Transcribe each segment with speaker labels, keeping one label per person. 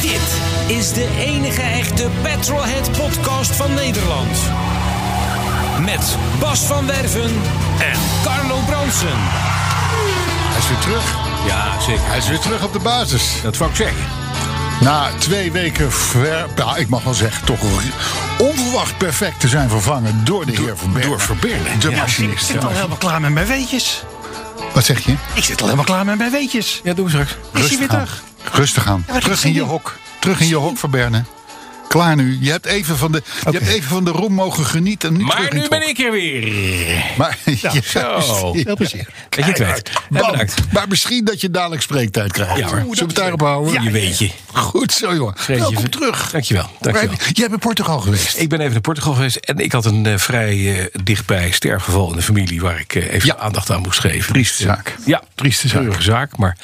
Speaker 1: Dit is de enige echte Petrolhead podcast van Nederland. Met Bas van Werven en Carlo Bronsen.
Speaker 2: Hij is weer terug.
Speaker 3: Ja, zeker.
Speaker 2: Hij is weer terug op de basis.
Speaker 3: Dat wou ik zeggen.
Speaker 2: Na twee weken, ver, nou, ik mag wel zeggen, toch onverwacht perfect te zijn vervangen door de heer Verberne.
Speaker 3: door Verberne,
Speaker 2: De
Speaker 3: ja.
Speaker 4: Ik
Speaker 2: machinist.
Speaker 4: zit al helemaal klaar met mijn weetjes.
Speaker 2: Wat zeg je?
Speaker 4: Ik zit al helemaal klaar met mijn weetjes.
Speaker 3: Ja, doe hem straks.
Speaker 4: Is hij weer
Speaker 2: aan.
Speaker 4: terug?
Speaker 2: Rustig aan.
Speaker 4: maar
Speaker 2: terug
Speaker 4: dat
Speaker 2: in je
Speaker 4: zie je.
Speaker 2: hok. Terug in je hok, Verberne. Klaar nu. Je hebt even van de, je hebt even van de roem mogen genieten. en Nu terug
Speaker 3: Maar
Speaker 2: in
Speaker 3: nu
Speaker 2: het
Speaker 3: ben
Speaker 2: hok.
Speaker 3: ik er weer.
Speaker 2: Maar, ja,
Speaker 3: zo.
Speaker 2: ja.
Speaker 4: Veel plezier.
Speaker 3: Dat je het weet.
Speaker 2: Bam.
Speaker 3: Ja, bedankt.
Speaker 2: Maar misschien dat je dadelijk spreektijd krijgt.
Speaker 3: Ja, hoor.
Speaker 2: Zullen we het daarop houden?
Speaker 3: Je weet je.
Speaker 2: Goed zo, jongen.
Speaker 3: Vreetje.
Speaker 2: Welkom terug.
Speaker 3: Dankjewel. Dankjewel.
Speaker 2: Jij bent Portugal geweest.
Speaker 3: Ik ben even naar Portugal geweest en ik had een eh, vrij eh, dichtbij sterfgeval in de familie waar ik eh, even
Speaker 2: Ja.
Speaker 3: aandacht aan moest geven.
Speaker 2: Trieste
Speaker 3: Dus, eh,
Speaker 2: zaak.
Speaker 3: Ja,
Speaker 2: Trieste zaak.
Speaker 3: treurige zaak. Maar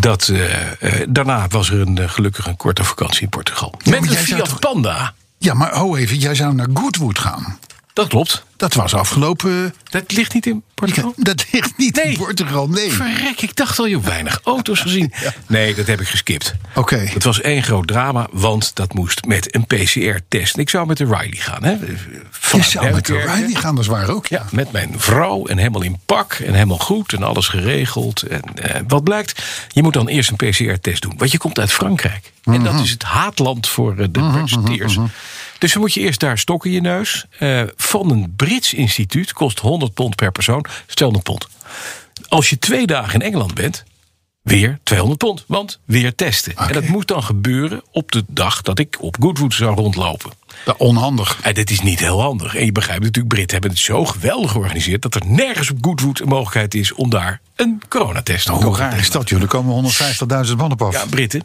Speaker 3: dat, eh, eh, daarna was er een, eh, gelukkig een korte vakantie in Portugal. Met
Speaker 2: maar
Speaker 3: een
Speaker 2: jij zou
Speaker 3: Fiat
Speaker 2: toch-
Speaker 3: Panda.
Speaker 2: Ja, maar hou even, jij zou naar Goodwood gaan.
Speaker 3: Dat klopt.
Speaker 2: Dat was afgelopen.
Speaker 3: Dat ligt niet in Portugal.
Speaker 2: Dat ligt niet in
Speaker 3: Nee.
Speaker 2: Portugal, nee.
Speaker 3: Verrek, ik dacht al, je hebt weinig auto's gezien. Nee, dat heb ik geskipt.
Speaker 2: Oké.
Speaker 3: Het was één groot drama, want dat moest met een PCR-test. Ik zou met de Riley gaan. Hè?
Speaker 2: Je
Speaker 3: Vanuit
Speaker 2: zou met de
Speaker 3: Duinkerke.
Speaker 2: Riley gaan, dat is waar ook.
Speaker 3: Ja, met mijn vrouw en helemaal in pak en helemaal goed en alles geregeld. En eh, wat blijkt, je moet dan eerst een PCR-test doen, want je komt uit Frankrijk. En dat is het haatland voor eh, de presenteers. Dus dan moet je eerst daar stokken in je neus. eh, van een Brits instituut, kost 100 pond per persoon, stel een pond. Als je twee dagen in Engeland bent, weer 200 pond, want weer testen. En dat moet dan gebeuren op de dag dat ik op Goodwood zou rondlopen.
Speaker 2: Ja, onhandig.
Speaker 3: En Eh, dit is niet heel handig. En je begrijpt natuurlijk, Britten hebben het zo geweldig georganiseerd... dat er nergens op Goodwood een mogelijkheid is om daar een coronatest te
Speaker 2: Hoe Oh, raar is dat, joh? Er komen 150.000 man op af.
Speaker 3: Ja, Britten.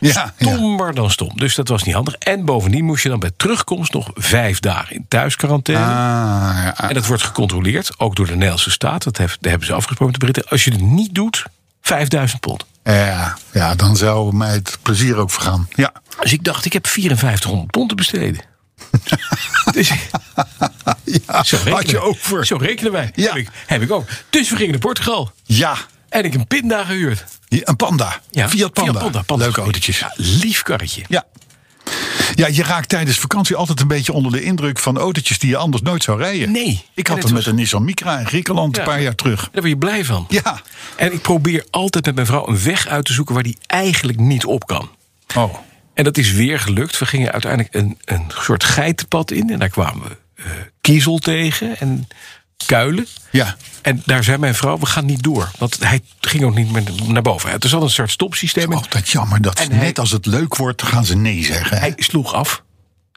Speaker 2: Ja,
Speaker 3: Stommer dan stom. Dus dat was niet handig. En bovendien moest je dan bij terugkomst nog vijf dagen in thuisquarantaine.
Speaker 2: Ah, ja.
Speaker 3: En dat wordt gecontroleerd, ook door de Nederlandse staat. Dat heeft, daar hebben ze afgesproken met de Britten. Als je het niet doet, 5000 pond.
Speaker 2: Ja, ja, dan zou mij het plezier ook vergaan. Ja.
Speaker 3: Dus ik dacht, ik heb 5400 pond te besteden. dus,
Speaker 2: ja.
Speaker 3: zo rekenen,
Speaker 2: Had je
Speaker 3: wij.
Speaker 2: ook voor.
Speaker 3: Zo rekenen wij.
Speaker 2: Ja.
Speaker 3: Heb, ik, heb ik ook. Dus we gingen naar Portugal.
Speaker 2: Ja,
Speaker 3: En ik een pinda gehuurd.
Speaker 2: die- een panda.
Speaker 3: Ja,
Speaker 2: Fiat Panda. Leuke
Speaker 3: gehuurd.
Speaker 2: autootjes.
Speaker 3: Ja, lief karretje.
Speaker 2: Ja. Ja, je raakt tijdens vakantie altijd een beetje onder de indruk van autootjes die je anders nooit zou rijden.
Speaker 3: Nee.
Speaker 2: Ik
Speaker 3: En
Speaker 2: had het
Speaker 3: het
Speaker 2: met
Speaker 3: was-
Speaker 2: een Nissan Micra in Griekenland
Speaker 3: Ja.
Speaker 2: een paar jaar terug.
Speaker 3: Daar word je blij van.
Speaker 2: Ja.
Speaker 3: En ik probeer altijd met mijn vrouw een weg uit te zoeken waar die eigenlijk niet op kan.
Speaker 2: Oh.
Speaker 3: En dat is weer gelukt. We gingen uiteindelijk een, een soort geitenpad in. En daar kwamen we eh, kiezel tegen en kuilen.
Speaker 2: Ja.
Speaker 3: En daar zei mijn vrouw, we gaan niet door. Want hij ging ook niet meer naar boven. Het is al een soort stopsysteem. En
Speaker 2: Altijd jammer dat
Speaker 3: En
Speaker 2: net
Speaker 3: hij-
Speaker 2: als het leuk wordt, gaan ze nee zeggen. hè?
Speaker 3: Hij sloeg af.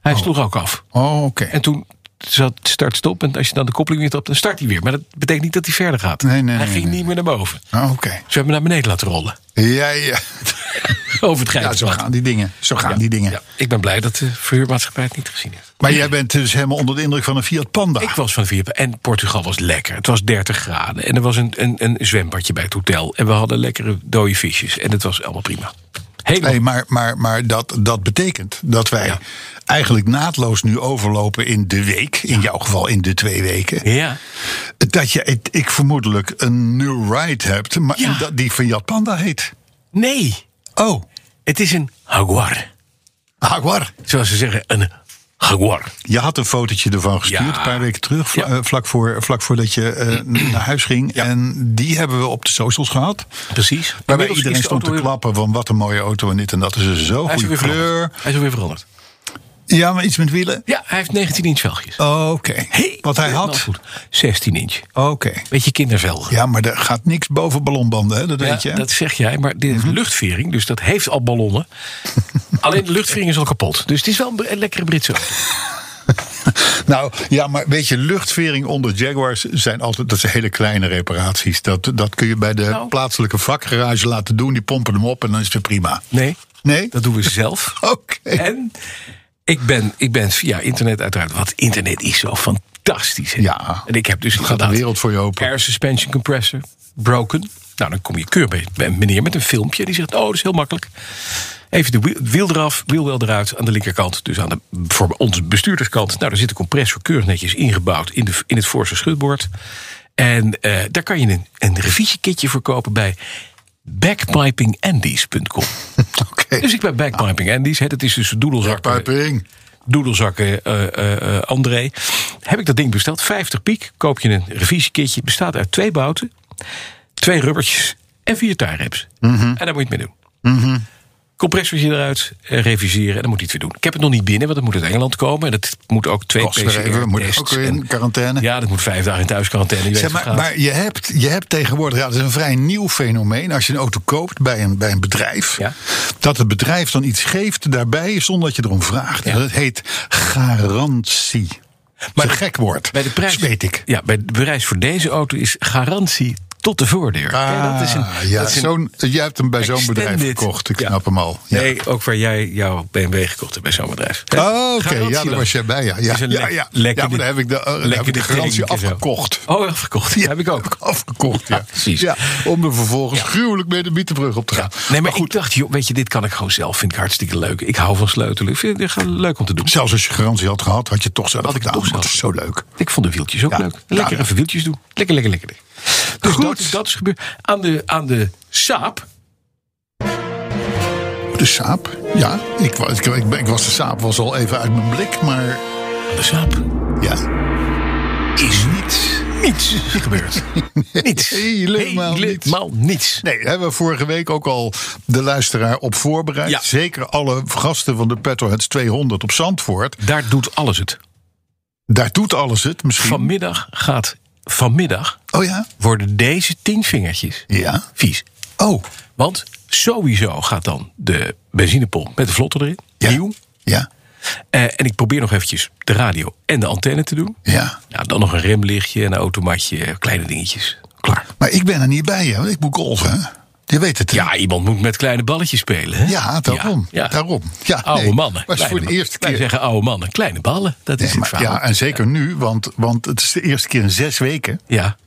Speaker 3: Hij sloeg ook af.
Speaker 2: Oh, oké.
Speaker 3: En toen zat start-stop. En als je dan de koppeling weer trapt, dan start hij weer. Maar dat betekent niet dat hij verder gaat.
Speaker 2: Nee, nee,
Speaker 3: hij
Speaker 2: nee,
Speaker 3: ging
Speaker 2: nee.
Speaker 3: niet meer naar boven.
Speaker 2: Oh, oké.
Speaker 3: Ze hebben hem naar beneden laten rollen.
Speaker 2: Ja, ja.
Speaker 3: Over het
Speaker 2: ja, zo
Speaker 3: geitenpad.
Speaker 2: gaan die dingen. Zo gaan die dingen.
Speaker 3: Ja, ik ben blij dat de verhuurmaatschappij het niet gezien heeft.
Speaker 2: Maar jij bent dus helemaal onder de indruk van een Fiat Panda.
Speaker 3: Ik was van Vierpen en Portugal was lekker. Het was 30 graden en er was een, een, een zwembadje bij het hotel. En we hadden lekkere dode visjes en het was allemaal prima. Helemaal
Speaker 2: Hey, maar maar, maar dat, dat betekent dat wij
Speaker 3: Ja.
Speaker 2: eigenlijk naadloos nu overlopen in de week. In jouw geval in de twee weken.
Speaker 3: ja.
Speaker 2: Dat je, ik, ik vermoedelijk, een new ride hebt, maar
Speaker 3: Ja.
Speaker 2: en dat die Fiat Panda heet.
Speaker 3: Nee,
Speaker 2: Oh,
Speaker 3: het is een jaguar.
Speaker 2: Jaguar.
Speaker 3: Zoals ze zeggen, een jaguar.
Speaker 2: Je had een fotootje ervan gestuurd,
Speaker 3: Ja.
Speaker 2: een paar weken terug, vla-
Speaker 3: Ja.
Speaker 2: eh, vlak, voor, vlak voordat je eh, naar huis ging. En die hebben we op de socials gehad.
Speaker 3: Precies.
Speaker 2: Waarbij
Speaker 3: Inmiddels
Speaker 2: iedereen
Speaker 3: is de
Speaker 2: stond te
Speaker 3: auto weer-
Speaker 2: klappen van wat een mooie auto en dit en dat. Is een zo
Speaker 3: Hij is
Speaker 2: goede
Speaker 3: weer
Speaker 2: kleur.
Speaker 3: veranderd. Hij is alweer veranderd.
Speaker 2: Ja, maar iets met wielen.
Speaker 3: Ja, hij heeft 19 inch velgjes.
Speaker 2: Oké. Wat hij
Speaker 3: Nou
Speaker 2: had.
Speaker 3: goed, 16 inch.
Speaker 2: Oké.
Speaker 3: Beetje kindervelgen.
Speaker 2: Ja, maar er gaat niks boven ballonbanden, hè? dat
Speaker 3: Ja,
Speaker 2: weet je. hè? Mhm.
Speaker 3: Dat zeg jij, maar dit is luchtvering, dus dat heeft al ballonnen. Alleen de luchtvering is al kapot. Dus het is wel een, bre- een lekkere Britse auto.
Speaker 2: Nou ja, maar weet je, luchtvering onder Jaguars zijn altijd dat zijn hele kleine reparaties. Dat, dat kun je bij de
Speaker 3: Nou.
Speaker 2: plaatselijke vakgarage laten doen. Die pompen hem op en dan is het weer prima.
Speaker 3: Nee,
Speaker 2: Nee?
Speaker 3: dat doen we zelf.
Speaker 2: Oké.
Speaker 3: En ik ben, ik ben via internet uiteraard, want internet is zo fantastisch. hè.
Speaker 2: Ja.
Speaker 3: En ik heb dus
Speaker 2: Gaat de
Speaker 3: inderdaad
Speaker 2: wereld voor je open.
Speaker 3: Air suspension compressor, broken. Nou, dan kom je keur bij bij een meneer met een filmpje. Die zegt, oh, dat is heel makkelijk. Even de wiel, wiel eraf, wiel wel eruit aan de linkerkant. Dus aan de, voor onze bestuurderskant. Nou, daar zit een compressor keurig netjes ingebouwd in, de, in het voorste schutbord. En eh, daar kan je een, een revisiekitje voor kopen bij backpipingandies.com.
Speaker 2: Oké.
Speaker 3: Dus ik ben backpiping Andy's. hè. Dat is dus doedelzakken,
Speaker 2: Piping.
Speaker 3: doedelzakken eh, eh, eh, André. Heb ik dat ding besteld. 50 piek. Koop je een revisiekitje. Bestaat uit twee bouten, twee rubbertjes en vier taareps.
Speaker 2: Mhm.
Speaker 3: En daar moet je het mee doen. Compressortje eruit, eh, reviseren en dan moet hij het weer doen. Ik heb het nog niet binnen, want het moet uit Engeland komen. En dat moet ook twee
Speaker 2: Kost weer even, moet
Speaker 3: PCR-tests.
Speaker 2: ook weer in
Speaker 3: en-
Speaker 2: quarantaine.
Speaker 3: Ja, dat moet vijf dagen in thuisquarantaine. je weet
Speaker 2: Zeg
Speaker 3: hoe het
Speaker 2: maar,
Speaker 3: gaat.
Speaker 2: maar je, hebt, je hebt tegenwoordig, ja, dat is een vrij nieuw fenomeen. Als je een auto koopt bij een, bij een bedrijf,
Speaker 3: Ja.
Speaker 2: dat het bedrijf dan iets geeft daarbij zonder dat je erom vraagt.
Speaker 3: Ja.
Speaker 2: Dat heet garantie. Maar een gek woord.
Speaker 3: Bij de prijs,
Speaker 2: Dat weet ik.
Speaker 3: Ja, bij de prijs voor deze auto is garantie tot de voordeur. Kijk, dat is een,
Speaker 2: Ah, ja,
Speaker 3: dat is een-
Speaker 2: zo'n, je hebt hem bij zo'n bedrijf
Speaker 3: extended.
Speaker 2: gekocht. Ik
Speaker 3: Ja.
Speaker 2: snap hem al. Ja.
Speaker 3: Nee, ook waar jij jouw BMW gekocht hebt bij zo'n bedrijf.
Speaker 2: Oh, Oké, ja,
Speaker 3: Garantieloos.
Speaker 2: daar was jij bij. Ja, ja,
Speaker 3: Is een
Speaker 2: ja,
Speaker 3: lek-
Speaker 2: ja.
Speaker 3: lekker
Speaker 2: ja maar
Speaker 3: de-
Speaker 2: daar heb ik de, eh, daar
Speaker 3: lekker
Speaker 2: heb ik de
Speaker 3: de
Speaker 2: garantie
Speaker 3: tank en zo.
Speaker 2: afgekocht.
Speaker 3: Oh, afgekocht. Ja, heb ik ook.
Speaker 2: Afgekocht, ja.
Speaker 3: Ja, precies.
Speaker 2: Ja, om er vervolgens gruwelijk mee de bietenbrug op te gaan.
Speaker 3: Nee, maar, ik dacht, joh, weet je, dit kan ik gewoon zelf. Vind ik hartstikke leuk. Ik hou van sleutelen. Ik vind het gewoon leuk om te doen.
Speaker 2: Zelfs als je garantie had gehad, had je het toch zelf
Speaker 3: Had ik
Speaker 2: gedaan.
Speaker 3: toch
Speaker 2: want
Speaker 3: zelf
Speaker 2: Dat is zo leuk.
Speaker 3: Ik vond de wieltjes ook
Speaker 2: Ja.
Speaker 3: leuk. Lekker
Speaker 2: Ja.
Speaker 3: even wieltjes doen. Lekker, lekker, lekker. Dus
Speaker 2: Goed.
Speaker 3: Dat, dat is gebeurd. Aan de, aan de saap.
Speaker 2: De saap, ja. Ik, wa- ik, ik, ben- ik was de saap was al even uit mijn blik, maar
Speaker 3: Aan de saap
Speaker 2: ja.
Speaker 3: is niets. Niets gebeurd. niets.
Speaker 2: Helemaal niets.
Speaker 3: Helemaal niets.
Speaker 2: Nee, hebben we vorige week ook al de luisteraar op voorbereid.
Speaker 3: Ja.
Speaker 2: Zeker alle gasten van de Petroheads 200 op Zandvoort.
Speaker 3: Daar doet alles het.
Speaker 2: Daar doet alles het misschien.
Speaker 3: Vanmiddag gaat. Vanmiddag
Speaker 2: Oh ja?
Speaker 3: worden deze tien vingertjes
Speaker 2: Ja.
Speaker 3: vies.
Speaker 2: Oh,
Speaker 3: Want sowieso gaat dan de benzinepomp met de vlotter erin.
Speaker 2: ja.
Speaker 3: Nieuw.
Speaker 2: Ja,
Speaker 3: Eh, en ik probeer nog eventjes de radio en de antenne te doen.
Speaker 2: ja.
Speaker 3: Nou, dan nog een remlichtje, een automatje, kleine dingetjes. Klaar.
Speaker 2: Maar ik ben er niet bij, hè, want ik moet golven. hè. Je weet het. hè?
Speaker 3: Ja, iemand moet met kleine balletjes spelen. Hè?
Speaker 2: Ja, daarom.
Speaker 3: Ja, ja.
Speaker 2: daarom. Ja,
Speaker 3: Oude
Speaker 2: nee.
Speaker 3: mannen.
Speaker 2: Maar het is
Speaker 3: kleine
Speaker 2: voor de
Speaker 3: mannen.
Speaker 2: eerste
Speaker 3: Wij
Speaker 2: keer.
Speaker 3: zeggen oude mannen, kleine ballen. Dat is
Speaker 2: Nee,
Speaker 3: het
Speaker 2: maar-
Speaker 3: verhaal.
Speaker 2: ja, en zeker nu, want, want het is de eerste keer in zes weken.
Speaker 3: Ja.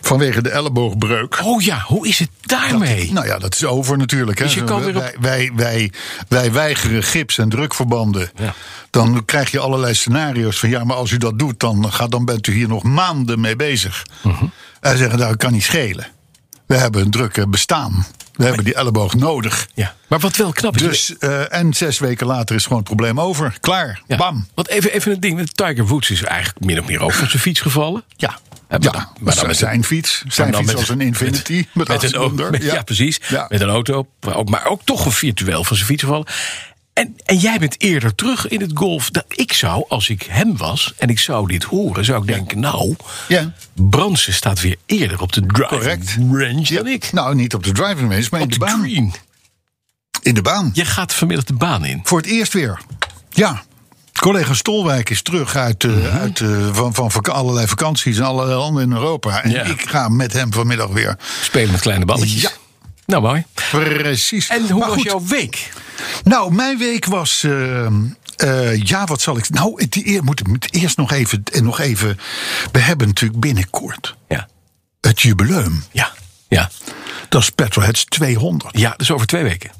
Speaker 2: Vanwege de elleboogbreuk.
Speaker 3: Oh ja, hoe is het daarmee?
Speaker 2: Nou ja, dat is over natuurlijk. Hè.
Speaker 3: Dus je kan weer op-
Speaker 2: wij, wij, wij, wij weigeren gips en drukverbanden.
Speaker 3: Ja.
Speaker 2: Dan krijg je allerlei scenario's van... ja, maar als u dat doet, dan, gaat, dan bent u hier nog maanden mee bezig.
Speaker 3: Mhm.
Speaker 2: En zeggen, nou, dat kan niet schelen. We hebben een druk eh, bestaan. We hebben die elleboog nodig.
Speaker 3: ja. Maar wat wel knap is.
Speaker 2: Dus, eh, en zes weken later is gewoon het probleem over. Klaar,
Speaker 3: Ja.
Speaker 2: bam.
Speaker 3: Want even, even een ding. want Tiger Woods is eigenlijk min of meer ook van zijn fiets gevallen.
Speaker 2: Ja,
Speaker 3: maar
Speaker 2: ja.
Speaker 3: dan- maar dan
Speaker 2: maar dan
Speaker 3: met-
Speaker 2: zijn fiets.
Speaker 3: En
Speaker 2: Zijn
Speaker 3: dan
Speaker 2: fiets
Speaker 3: met-
Speaker 2: als een Infinity. Met, acht
Speaker 3: een auto.
Speaker 2: cilinder.
Speaker 3: met- ja. precies.
Speaker 2: Ja.
Speaker 3: Met een auto. Maar ook, maar ook toch een virtueel van zijn fiets gevallen. En, en jij bent eerder terug in het golf. Dat ik zou, als ik hem was en ik zou dit horen, zou ik denken: Nou,
Speaker 2: Ja.
Speaker 3: Bransen staat weer eerder op de drive
Speaker 2: Correct.
Speaker 3: range
Speaker 2: Ja,
Speaker 3: dan ik.
Speaker 2: Nou, niet op de driving range, maar in
Speaker 3: op
Speaker 2: de,
Speaker 3: de
Speaker 2: baan.
Speaker 3: green.
Speaker 2: In de baan.
Speaker 3: Jij gaat vanmiddag de baan in.
Speaker 2: Voor het eerst weer. Ja. Collega Stolwijk is terug uit, eh,
Speaker 3: Mhm.
Speaker 2: uit, eh, van, van vaka- allerlei vakanties in allerlei landen in Europa. En
Speaker 3: Ja.
Speaker 2: ik ga met hem vanmiddag weer.
Speaker 3: Spelen met kleine balletjes.
Speaker 2: Ja.
Speaker 3: Nou, mooi.
Speaker 2: Precies.
Speaker 3: En hoe
Speaker 2: Maar
Speaker 3: was
Speaker 2: goed,
Speaker 3: jouw week?
Speaker 2: Nou, mijn week was. eh, eh, ja, wat zal ik. Nou, het, eer- moet, moet eerst nog even, en nog even. We hebben natuurlijk binnenkort
Speaker 3: Ja.
Speaker 2: het jubileum.
Speaker 3: Ja. Ja.
Speaker 2: Dat is Petroheads 200.
Speaker 3: Ja, dus over twee weken.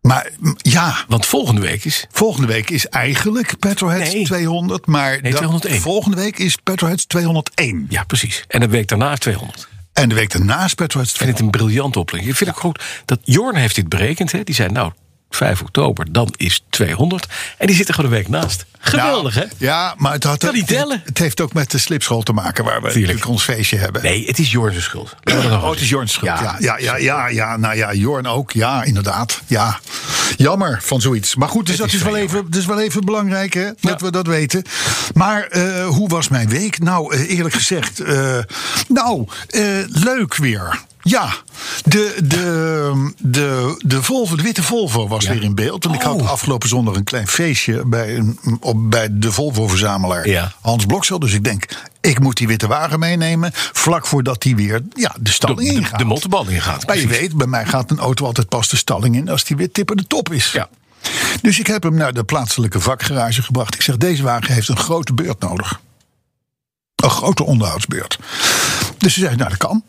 Speaker 2: Maar m, ja,
Speaker 3: Want volgende week is.
Speaker 2: Volgende week is eigenlijk Petroheads
Speaker 3: Nee.
Speaker 2: 200, maar dat-
Speaker 3: 201.
Speaker 2: volgende week is Petroheads 201.
Speaker 3: Ja, precies. En de week daarna is 200.
Speaker 2: En de week daarna is Petroheads
Speaker 3: Ik vind
Speaker 2: 200.
Speaker 3: het een briljante oplossing. Ik vind het goed dat Jorn heeft dit berekend. Hè? Die zei, nou, 5 oktober, dan is 200. En die zit er gewoon een week naast. Geweldig,
Speaker 2: Nou,
Speaker 3: hè?
Speaker 2: Ja, maar het, had,
Speaker 3: Kan niet tellen.
Speaker 2: Het, heeft ook met de slipschool te maken waar we natuurlijk ons feestje hebben.
Speaker 3: Nee, het is Jorn's schuld. Laten we dat nog
Speaker 2: Oh, het is
Speaker 3: eens
Speaker 2: Jorn's schuld.
Speaker 3: Ja.
Speaker 2: Ja, ja, ja, ja, ja, nou ja, Jorn ook. Ja, inderdaad. Ja. Jammer van zoiets. Maar goed, dus dat
Speaker 3: is
Speaker 2: is, wel
Speaker 3: wel
Speaker 2: even, dat is wel even belangrijk hè, dat we dat weten. Maar eh, hoe was mijn week? Nou, eh, eerlijk gezegd, eh, nou, eh, leuk weer. Ja, De, de, de, de, Volvo, de witte Volvo was weer in beeld. Want ik
Speaker 3: Oh.
Speaker 2: had afgelopen zondag een klein feestje bij, een, op, bij de Volvo-verzamelaar
Speaker 3: Ja.
Speaker 2: Hans Bloksel. Dus ik denk, ik moet die witte wagen meenemen. Vlak voordat die weer ja, de
Speaker 3: De,
Speaker 2: stalling
Speaker 3: de,
Speaker 2: ingaat.
Speaker 3: de mottenbal ingaat.
Speaker 2: Maar je
Speaker 3: precies.
Speaker 2: weet, bij mij gaat een auto altijd pas de stalling in als die weer tippen de top is.
Speaker 3: Ja.
Speaker 2: Dus ik heb hem naar de plaatselijke vakgarage gebracht. Ik zeg, deze wagen heeft een grote beurt nodig. Een grote onderhoudsbeurt. Dus ze zeggen, nou dat kan.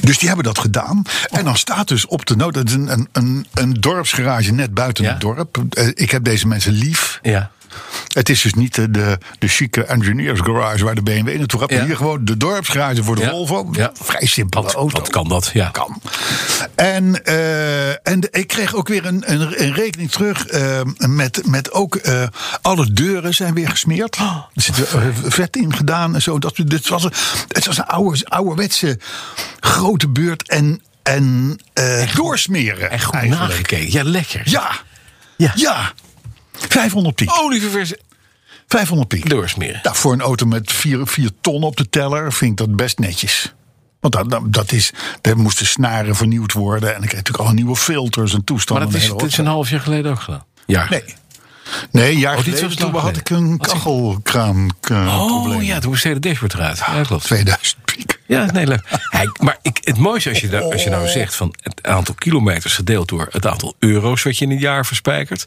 Speaker 2: Dus die hebben dat gedaan. En dan staat dus op de nood, dat is een, een, een, een dorpsgarage net buiten
Speaker 3: Ja.
Speaker 2: het dorp. Eh, Ik heb deze mensen lief.
Speaker 3: Ja.
Speaker 2: Het is dus niet de, de, de chique engineers garage waar de BMW naartoe gaat. maar
Speaker 3: Ja.
Speaker 2: Hier gewoon de dorpsgarage voor de
Speaker 3: Ja.
Speaker 2: Volvo.
Speaker 3: Ja.
Speaker 2: Vrij simpele
Speaker 3: Wat,
Speaker 2: auto
Speaker 3: wat kan dat? Ja.
Speaker 2: kan. En, eh, en de- ik kreeg ook weer een, een, een rekening terug eh, met, met ook eh, alle deuren zijn weer gesmeerd.
Speaker 3: Oh.
Speaker 2: Er zit eh, vet in gedaan en zo. Dat, dit was een, het was een oude, ouderwetse grote beurt en, en eh, doorsmeren.
Speaker 3: En goed
Speaker 2: eigenlijk.
Speaker 3: nagekeken. Ja, lekker.
Speaker 2: Ja,
Speaker 3: Ja.
Speaker 2: ja. 500
Speaker 3: Oh.
Speaker 2: piek.
Speaker 3: Olieververs
Speaker 2: 500 piek.
Speaker 3: doorsmeren.
Speaker 2: Nou, voor een auto met 4 ton op de teller vind ik dat best netjes. Want dat, dat- dat is, er moesten snaren vernieuwd worden. En dan kreeg je natuurlijk al nieuwe filters en
Speaker 3: Maar
Speaker 2: toestanden.
Speaker 3: dat is,
Speaker 2: en
Speaker 3: dat
Speaker 2: hele
Speaker 3: is een half jaar geleden ook gedaan. Ja.
Speaker 2: hoop. Nee. Nee, een jaar
Speaker 3: dit
Speaker 2: geleden,
Speaker 3: was
Speaker 2: toen
Speaker 3: lang
Speaker 2: had ik een
Speaker 3: geleden.
Speaker 2: kachelkraan eh,
Speaker 3: Oh
Speaker 2: probleem.
Speaker 3: ja, toen moest het hele dashboard eruit. Ja, klopt.
Speaker 2: 2000 piek.
Speaker 3: Ja, nee, leuk. Hey, maar ik, het mooiste als je, nou, als je nou zegt van het aantal kilometers gedeeld door het aantal euro's wat je in een jaar verspijkert.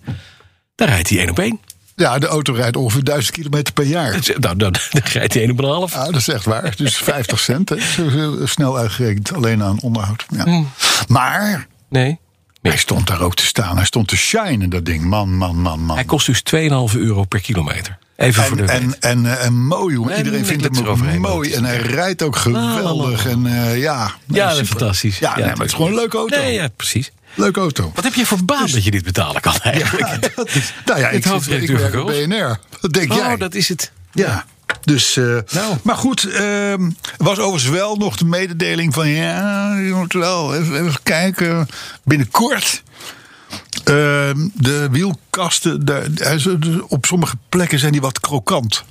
Speaker 3: Dan rijdt hij één op één.
Speaker 2: Ja, de auto rijdt ongeveer 1000 kilometer per jaar.
Speaker 3: Dus, nou, dan, dan rijdt hij één op een half.
Speaker 2: Ja, dat is echt waar. Dus 50 cent. hè. Zo- zo Snel uitgerekend alleen aan onderhoud.
Speaker 3: Hmm.
Speaker 2: Ja. Maar
Speaker 3: Nee.
Speaker 2: hij stond daar ook te staan. Hij stond te shinen, dat ding. Man, man, man, man.
Speaker 3: Hij kost dus 2,5 euro per kilometer. Even voor de
Speaker 2: En, en, en, eh, en mooi, jongen.
Speaker 3: Nee,
Speaker 2: Iedereen
Speaker 3: nee,
Speaker 2: vindt
Speaker 3: ik
Speaker 2: hem
Speaker 3: let eroverheen, want
Speaker 2: mooi.
Speaker 3: het is Ah,
Speaker 2: En hij rijdt ook geweldig. En eh, ja, nee,
Speaker 3: Ja, dat is
Speaker 2: super.
Speaker 3: fantastisch.
Speaker 2: Ja, nee, maar het is gewoon een leuke auto.
Speaker 3: Nee, ja, precies.
Speaker 2: Leuke auto.
Speaker 3: Wat heb je voor baan dat je dit betalen kan eigenlijk?
Speaker 2: Ja, dat is- nou ja, ik,
Speaker 3: Het
Speaker 2: zit, ik
Speaker 3: hoofdredacteur
Speaker 2: werk
Speaker 3: van
Speaker 2: op BNR. Wat denk jij?
Speaker 3: Oh, dat is het.
Speaker 2: Ja. Dus, eh,
Speaker 3: Nou.
Speaker 2: Maar goed, ehm, er was overigens wel nog de mededeling van... ja, je moet wel even, even kijken. Binnenkort... ehm, de wielkasten, daar- daar is- eh, op sommige plekken zijn die wat krokant.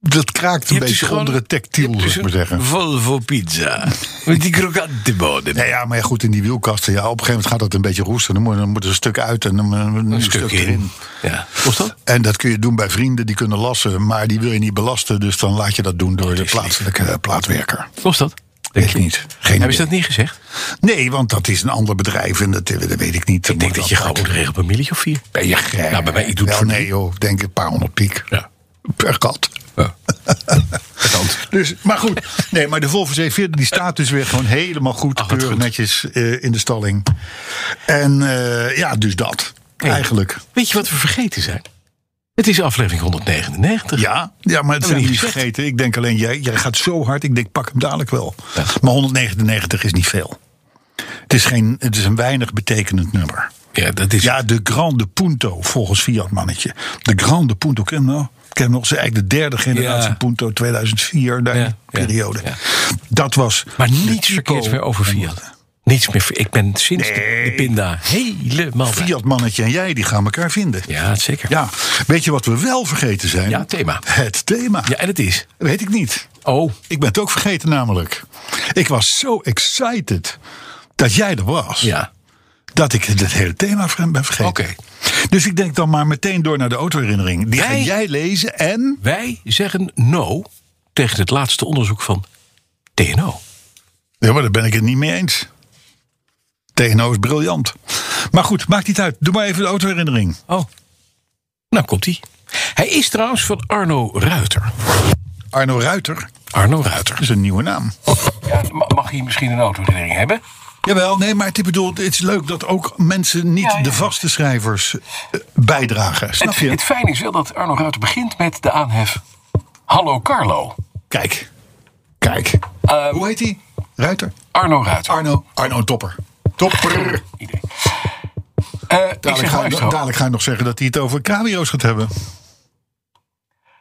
Speaker 2: Dat kraakt een
Speaker 3: hebt dus
Speaker 2: beetje
Speaker 3: gewoon-
Speaker 2: onder
Speaker 3: dus
Speaker 2: het tactiel, zou ik maar zeggen.
Speaker 3: Volvo pizza. Met die krokante bodem.
Speaker 2: Nou ja, maar ja, goed, in die wielkasten, ja, op een gegeven moment gaat dat een beetje roesten. Dan moet, dan moet er een stuk uit en dan, eh, een,
Speaker 3: Een
Speaker 2: stuk
Speaker 3: stukje
Speaker 2: erin.
Speaker 3: in. Ja. Kost dat?
Speaker 2: En dat kun je doen bij vrienden, die kunnen lassen, maar die wil je niet belasten. Dus dan laat je dat doen door de plaatselijke eh, plaatwerker.
Speaker 3: Kost dat?
Speaker 2: Denk ik niet. Geen
Speaker 3: Hebben ze
Speaker 2: idee.
Speaker 3: dat niet gezegd?
Speaker 2: Nee, want dat is een ander bedrijf en dat, dat weet ik niet.
Speaker 3: Ik denk dat je gewoon moet regelen op een milletje of vier. Ben je gek? Nou, bij mij, ik doe
Speaker 2: Wel,
Speaker 3: het voor
Speaker 2: nee joh, ik denk een paar honderd piek.
Speaker 3: Ja.
Speaker 2: Per kat.
Speaker 3: Ja. Verstand.
Speaker 2: Dus, maar goed, nee, maar de Volvo C40 die staat dus weer gewoon helemaal goed,
Speaker 3: Ach, wat
Speaker 2: keurig
Speaker 3: goed.
Speaker 2: netjes eh, in de stalling. En eh, ja, dus dat.
Speaker 3: Hey.
Speaker 2: Eigenlijk.
Speaker 3: Weet je wat we vergeten zijn? Het is aflevering 199.
Speaker 2: Ja, ja maar het
Speaker 3: Hebben we
Speaker 2: zijn
Speaker 3: niet
Speaker 2: niet
Speaker 3: gezegd.
Speaker 2: vergeten. Ik denk alleen, jij, jij gaat zo hard. Ik denk, pak hem dadelijk wel.
Speaker 3: Ja.
Speaker 2: Maar 199 is niet veel. Het is, geen, het is een weinig betekenend nummer.
Speaker 3: Ja, dat is...
Speaker 2: Ja, de Grande Punto, volgens Fiat Mannetje. De Grande Punto, ken je hem nog? Ken je hem nog? Ze eigenlijk de derde generatie
Speaker 3: Ja.
Speaker 2: Punto, 2004, daar in
Speaker 3: Ja,
Speaker 2: die
Speaker 3: ja,
Speaker 2: periode.
Speaker 3: ja.
Speaker 2: Dat was...
Speaker 3: Maar
Speaker 2: de
Speaker 3: niets
Speaker 2: Tyco
Speaker 3: verkeerds meer over Fiat. Niets meer. ver- Ik ben sinds de, de Pinda helemaal bij.
Speaker 2: Fiat Mannetje en jij, die gaan elkaar vinden.
Speaker 3: Ja, zeker.
Speaker 2: Ja, weet je wat we wel vergeten zijn?
Speaker 3: Ja, thema.
Speaker 2: Het thema.
Speaker 3: Ja, en het is.
Speaker 2: Weet ik niet.
Speaker 3: Oh,
Speaker 2: Ik ben het ook vergeten namelijk. Ik was zo excited dat jij er was.
Speaker 3: ja.
Speaker 2: Dat ik het hele thema ver- ben vergeten.
Speaker 3: Oké.
Speaker 2: Dus ik denk dan maar meteen door naar de autoherinnering. Die ga
Speaker 3: Wij-
Speaker 2: jij lezen en...
Speaker 3: Wij zeggen no tegen het laatste onderzoek van TNO.
Speaker 2: Ja, maar daar ben ik het niet mee eens. TNO is briljant. Maar goed, maakt niet uit. Doe maar even de autoherinnering.
Speaker 3: Oh. Nou komt hij. Hij is trouwens van Arno Ruiter.
Speaker 2: Arno Ruiter
Speaker 3: Arno Ruiter.
Speaker 2: is een nieuwe naam.
Speaker 3: mag hij misschien een autoherinnering hebben?
Speaker 2: Jawel, nee, maar het, ik bedoel, het is leuk dat ook mensen niet
Speaker 3: Ja, ja.
Speaker 2: de vaste schrijvers eh, bijdragen. Snap
Speaker 3: Het,
Speaker 2: je?
Speaker 3: het fijne is wel dat Arno Ruiter begint met de aanhef. Hallo Carlo.
Speaker 2: Kijk. Kijk.
Speaker 3: Ehm,
Speaker 2: Hoe heet hij? Ruiter?
Speaker 3: Arno Ruiter.
Speaker 2: Arno. Arno Topper. Topper.
Speaker 3: Idee. Eh, ik
Speaker 2: Dadelijk
Speaker 3: zeg
Speaker 2: ga, je,
Speaker 3: luister.
Speaker 2: dadelijk ga je nog zeggen dat hij het over cameo's gaat hebben.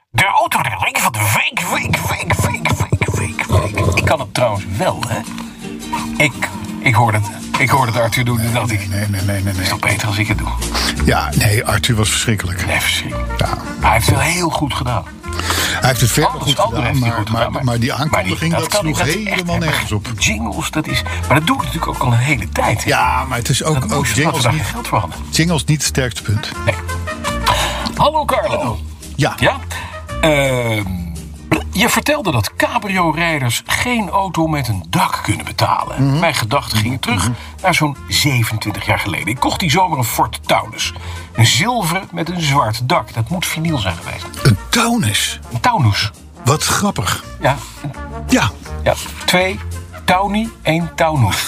Speaker 3: De autoherinnering van de week, week, week, week, week, week, week. Ik kan het trouwens wel, hè. Ik, ik hoorde het. Ik hoorde het Arthur doen en dacht ik... Het
Speaker 2: Nee, nee, nee, nee. nee.
Speaker 3: is toch beter als ik het doe.
Speaker 2: Ja, nee, Arthur was verschrikkelijk.
Speaker 3: Nee, verschrikkelijk.
Speaker 2: Ja.
Speaker 3: Maar hij heeft het wel heel goed gedaan.
Speaker 2: Hij Hij heeft het verder
Speaker 3: Alles
Speaker 2: goed
Speaker 3: andere
Speaker 2: gedaan,
Speaker 3: heeft hij
Speaker 2: maar-
Speaker 3: goed gedaan,
Speaker 2: maar- maar die aankondiging, dat
Speaker 3: kan
Speaker 2: sloeg
Speaker 3: niet, is echt,
Speaker 2: helemaal
Speaker 3: hè, maar
Speaker 2: nergens op.
Speaker 3: Jingles, dat is... Maar dat doe ik natuurlijk ook al een hele tijd. hè.
Speaker 2: Ja, maar het is
Speaker 3: Dat
Speaker 2: ook, ook
Speaker 3: moest, omdat we
Speaker 2: jingles,
Speaker 3: daar geen
Speaker 2: niet,
Speaker 3: geld voor hadden.
Speaker 2: jingles niet het sterkste punt.
Speaker 3: Nee. Hallo Carlo.
Speaker 2: Ja,
Speaker 3: Ja? Ehm, je vertelde dat cabrio-rijders geen auto met een dak kunnen betalen. Mijn gedachten gingen terug naar zo'n 27 jaar geleden. Ik kocht die zomer een Ford Taunus. Een zilveren met een zwart dak. Dat moet vinyl zijn geweest.
Speaker 2: een Taunus.
Speaker 3: Een Taunus.
Speaker 2: Wat grappig.
Speaker 3: Ja, een-
Speaker 2: Ja,
Speaker 3: ja. twee Tawny, één Taunus.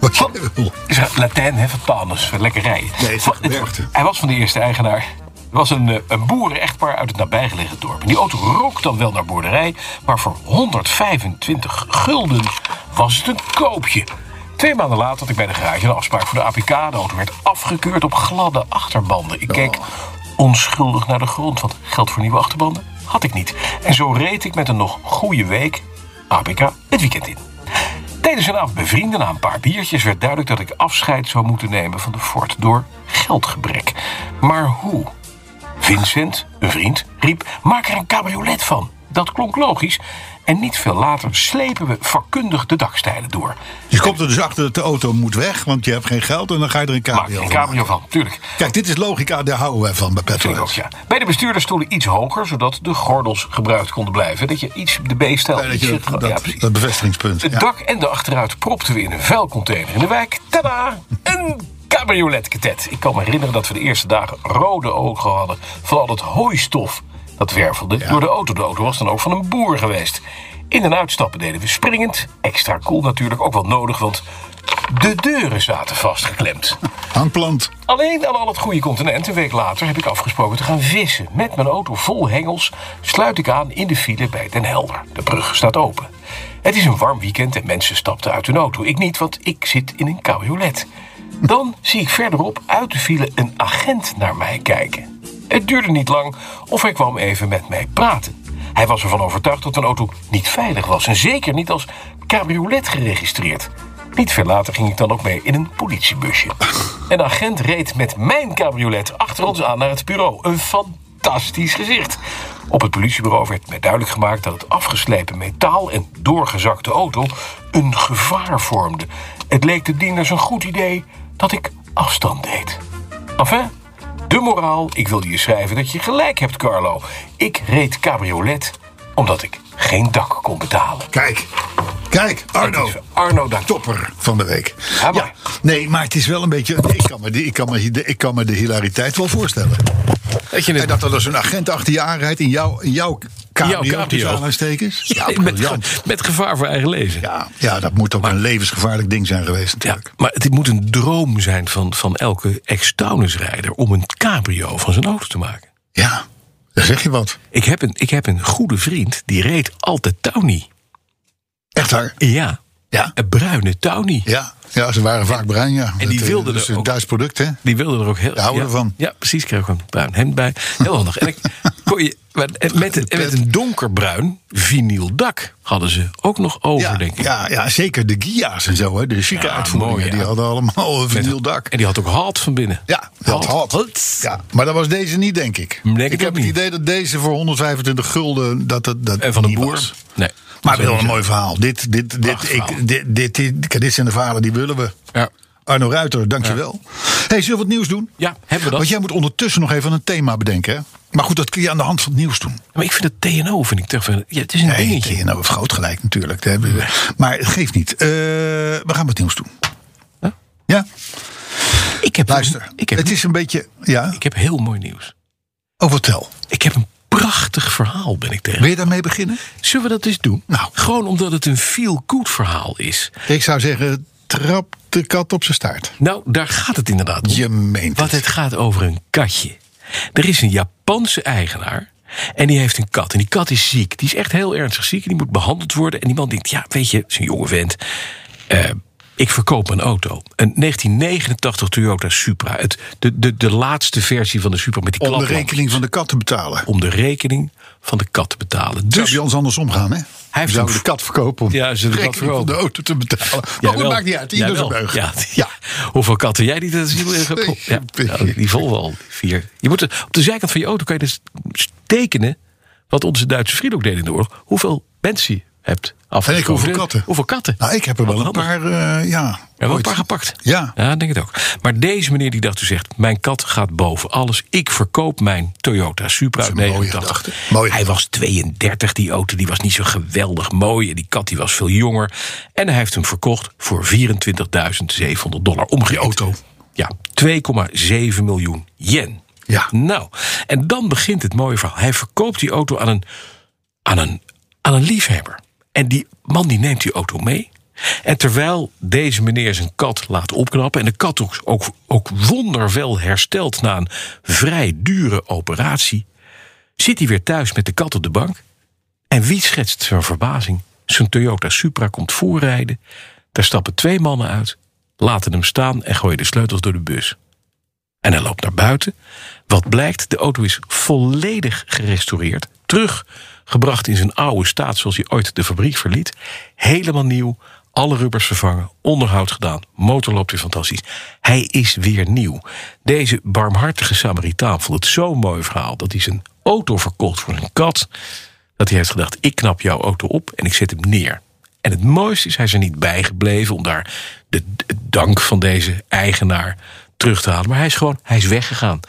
Speaker 2: wat
Speaker 3: Van-
Speaker 2: jij wil.
Speaker 3: Is er Latijn, hè, van Palus, van lekkerij.
Speaker 2: Nee, het is
Speaker 3: Van-
Speaker 2: gewerkt, hè.
Speaker 3: Hij was van de eerste eigenaar. Er was een, eh, een boeren-echtpaar uit het nabijgelegen dorp. En die auto rook dan wel naar boerderij, maar voor 125 gulden was het een koopje. Twee maanden later had ik bij de garage een afspraak voor de APK. De auto werd afgekeurd op gladde achterbanden. Ik keek onschuldig naar de grond, want geld voor nieuwe achterbanden had ik niet. En zo reed ik met een nog goede week APK het weekend in. Tijdens een avond bij vrienden na een paar biertjes werd duidelijk dat ik afscheid zou moeten nemen van de fort door geldgebrek. Maar hoe? Vincent, een vriend, riep: maak er een cabriolet van. Dat klonk logisch. En niet veel later slepen we vakkundig de dakstijlen door.
Speaker 2: Je komt er dus achter dat de auto moet weg, want je hebt geen geld en dan ga je er een
Speaker 3: Maak
Speaker 2: cabrio
Speaker 3: er een
Speaker 2: van
Speaker 3: cabrio van, tuurlijk.
Speaker 2: maken. Kijk, dit is logica, daar houden wij van bij
Speaker 3: Vind ik ook,
Speaker 2: Petrolheads.
Speaker 3: ja. Bij de bestuurdersstoelen iets hoger, zodat de gordels gebruikt konden blijven. Dat je iets de B-stijl...
Speaker 2: Oh, Ja, dat je
Speaker 3: ietsje-
Speaker 2: dat,
Speaker 3: ja,
Speaker 2: dat,
Speaker 3: precies.
Speaker 2: dat bevestigingspunt.
Speaker 3: Het
Speaker 2: ja.
Speaker 3: dak en de achteruit propten we in een vuilcontainer in de wijk. Tada! Een cabrioletketet. Ik kan me herinneren dat we de eerste dagen rode ogen hadden van al dat hooistof dat wervelde door de auto. De auto was dan ook van een boer geweest. In en uitstappen deden we springend. Extra cool natuurlijk, ook wel nodig, want de deuren zaten vastgeklemd.
Speaker 2: Hangplant.
Speaker 3: Alleen aan al het goede continent, een week later, heb ik afgesproken te gaan vissen. Met mijn auto vol hengels sluit ik aan in de file bij Den Helder. De brug staat open. Het is een warm weekend en mensen stapten uit hun auto. Ik niet, want ik zit in een cabriolet. Dan zie ik verderop uit de file een agent naar mij kijken. Het duurde niet lang of hij kwam even met mij praten. Hij was ervan overtuigd dat een auto niet veilig was en zeker niet als cabriolet geregistreerd. Niet veel later ging ik dan ook mee in een politiebusje. Een agent reed met mijn cabriolet achter ons aan naar het bureau. Een fantastisch gezicht. Op het politiebureau werd mij duidelijk gemaakt dat het afgeslepen metaal en doorgezakte auto een gevaar vormden. Het leek de dieners een goed idee dat ik afstand deed. Enfin, de moraal, ik wilde je schrijven dat je gelijk hebt, Carlo. Ik reed cabriolet omdat ik geen dak kon betalen.
Speaker 2: Kijk, kijk, Arno.
Speaker 3: Dus Arno dank.
Speaker 2: Topper van de week.
Speaker 3: Ja, maar-
Speaker 2: nee, maar het is wel een beetje. Ik kan me, de- ik kan me, de- ik kan me de hilariteit wel voorstellen.
Speaker 5: Dat je
Speaker 2: En
Speaker 5: het
Speaker 2: dat er dus een agent achter je aanrijdt in jouw, in jouw cabrio.
Speaker 5: Jouw cabrio.
Speaker 2: tussen aanhalingstekens. Ja,
Speaker 5: met,
Speaker 2: briljant.
Speaker 5: ge- met gevaar voor eigen leven.
Speaker 2: Ja, ja, dat moet ook een levensgevaarlijk ding zijn geweest.
Speaker 5: Ja,
Speaker 2: Natuurlijk.
Speaker 5: maar het moet een droom zijn van, van elke ex-Taunus-rijder... om een cabrio van zijn auto te maken.
Speaker 2: Ja. daar zeg je wat.
Speaker 5: Ik heb een, ik heb een goede vriend, die reed altijd Tawny.
Speaker 2: Echt waar?
Speaker 5: Ja,
Speaker 2: Ja.
Speaker 5: een bruine Tawny.
Speaker 2: Ja, ja ze waren vaak bruin, ja.
Speaker 5: En die
Speaker 2: Dat, eh,
Speaker 5: wilden
Speaker 2: dat
Speaker 5: er
Speaker 2: is een
Speaker 5: ook-
Speaker 2: Duits product, hè?
Speaker 5: Die wilde er ook heel...
Speaker 2: Daar houden we
Speaker 5: ja,
Speaker 2: van.
Speaker 5: Ja, precies, kreeg ik een bruin hemd bij. Heel handig. En ik kon je, maar- en met, een- en met een donkerbruin vinyl dak hadden ze ook nog over,
Speaker 2: Ja,
Speaker 5: denk ik.
Speaker 2: ja, ja, zeker de Gia's en zo, hè? De chique
Speaker 5: Ja,
Speaker 2: uitvoeringen.
Speaker 5: mooi, ja.
Speaker 2: Die hadden allemaal een
Speaker 5: Met-
Speaker 2: vinyl dak.
Speaker 5: En die had ook halt van binnen.
Speaker 2: Ja, dat had.
Speaker 5: Halt.
Speaker 2: Ja, maar dat was deze niet, denk ik.
Speaker 5: Denk ik
Speaker 2: ik
Speaker 5: ook
Speaker 2: heb het
Speaker 5: niet.
Speaker 2: idee dat deze voor 125 gulden. Dat, dat, dat
Speaker 5: En van de
Speaker 2: niet
Speaker 5: boer.
Speaker 2: was.
Speaker 5: Nee.
Speaker 2: Maar wel een mooi verhaal. Dit, dit, dit,
Speaker 5: Prachtig
Speaker 2: ik,
Speaker 5: verhaal.
Speaker 2: dit, dit, dit, kijk, dit zijn de verhalen die willen we.
Speaker 5: Ja.
Speaker 2: Arno Ruiter, dankjewel. hey, zullen we wat nieuws doen?
Speaker 5: Ja, hebben we dat.
Speaker 2: Want jij moet ondertussen nog even een thema bedenken. Hè? Maar goed, dat kun je aan de hand van het nieuws doen.
Speaker 5: Maar ik vind het TNO, vind ik toch... wel- Ja, het is een
Speaker 2: Nee,
Speaker 5: dingetje.
Speaker 2: TNO heeft Nou, groot gelijk natuurlijk. Daar hebben we- Maar het geeft niet. Eh, we gaan wat nieuws doen.
Speaker 5: Huh?
Speaker 2: Ja,
Speaker 5: Ik heb,
Speaker 2: luister.
Speaker 5: Ik heb,
Speaker 2: het is een beetje... Ja,
Speaker 5: ik heb heel mooi nieuws.
Speaker 2: oh, vertel.
Speaker 5: Ik heb een prachtig verhaal, ben ik tegen.
Speaker 2: Wil je daarmee beginnen?
Speaker 5: Zullen we dat eens doen?
Speaker 2: Nou.
Speaker 5: Gewoon omdat het een feel-good verhaal is.
Speaker 2: Ik zou zeggen, trap de kat op zijn staart.
Speaker 5: Nou, daar gaat het inderdaad om.
Speaker 2: Je meent
Speaker 5: Want het gaat over een katje. Er is een Japanse eigenaar. En die heeft een kat. En die kat is ziek. Die is echt heel ernstig ziek. En die moet behandeld worden. En die man denkt, ja, weet je, het is een jonge vent. Eh, ik verkoop een auto. Een 1989 Toyota Supra. Het, de, de, de laatste versie van de Supra met die
Speaker 2: Om de
Speaker 5: klaplamp.
Speaker 2: rekening van de kat te betalen.
Speaker 5: Om de rekening van de kat te betalen.
Speaker 2: Dus
Speaker 5: Dus
Speaker 2: zou je ons andersom gaan, hè?
Speaker 5: heeft
Speaker 2: zou
Speaker 5: een-
Speaker 2: de kat verkopen om
Speaker 5: Ja, ze
Speaker 2: de
Speaker 5: de kat
Speaker 2: rekening van de
Speaker 5: verkopen.
Speaker 2: auto te betalen.
Speaker 5: Jij
Speaker 2: maar goed,
Speaker 5: wel.
Speaker 2: maakt niet uit.
Speaker 5: Jij
Speaker 2: Ieder zijn
Speaker 5: wel.
Speaker 2: beug.
Speaker 5: Ja,
Speaker 2: ja.
Speaker 5: Hoeveel katten jij niet? Dat is
Speaker 3: eh,
Speaker 5: heel- ja, ja, die vol wel. Vier. Je moet er- op de zijkant van je auto kan je dus tekenen
Speaker 3: Wat onze Duitse vrienden ook deden in de oorlog. Hoeveel mensen je hebt afgeschoten.
Speaker 2: hoeveel katten.
Speaker 3: Hoeveel katten.
Speaker 2: Nou, ik heb er wel een
Speaker 3: Handig.
Speaker 2: paar, eh, ja.
Speaker 3: We hebben
Speaker 2: ooit.
Speaker 3: een paar gepakt.
Speaker 2: Ja.
Speaker 3: ja, ik denk het ook. Maar deze meneer die dacht, u zegt, mijn kat gaat boven alles. Ik verkoop mijn Toyota Supra uit
Speaker 2: een mooie
Speaker 3: 89.
Speaker 2: gedachte. Mooie
Speaker 3: hij was 32, die auto. Die was niet zo geweldig mooi. En die kat die was veel jonger. En hij heeft hem verkocht voor 24.700 dollar. Omgerekend.
Speaker 2: auto.
Speaker 3: Ja, 2,7 miljoen yen.
Speaker 2: Ja.
Speaker 3: Nou, en dan begint het mooie verhaal. Hij verkoopt die auto aan een, aan een, aan een liefhebber. En die man die neemt die auto mee. En terwijl deze meneer zijn kat laat opknappen... en de kat ook, ook, ook wonderwel herstelt na een vrij dure operatie... zit hij weer thuis met de kat op de bank. En wie schetst zijn verbazing? Zijn Toyota Supra komt voorrijden. Daar stappen twee mannen uit, laten hem staan en gooien de sleutels door de bus. En hij loopt naar buiten. Wat blijkt, de auto is volledig gerestaureerd. Teruggebracht in zijn oude staat zoals hij ooit de fabriek verliet. Helemaal nieuw. Alle rubbers vervangen, onderhoud gedaan, motor loopt weer fantastisch. Hij is weer nieuw. Deze barmhartige Samaritaan vond het zo'n mooi verhaal dat hij zijn auto verkocht voor zijn kat. Dat hij heeft gedacht: ik knap jouw auto op en ik zet hem neer. En het mooiste is, hij is er niet bij gebleven om daar de de dank van deze eigenaar terug te halen. Maar hij is gewoon, hij is weggegaan.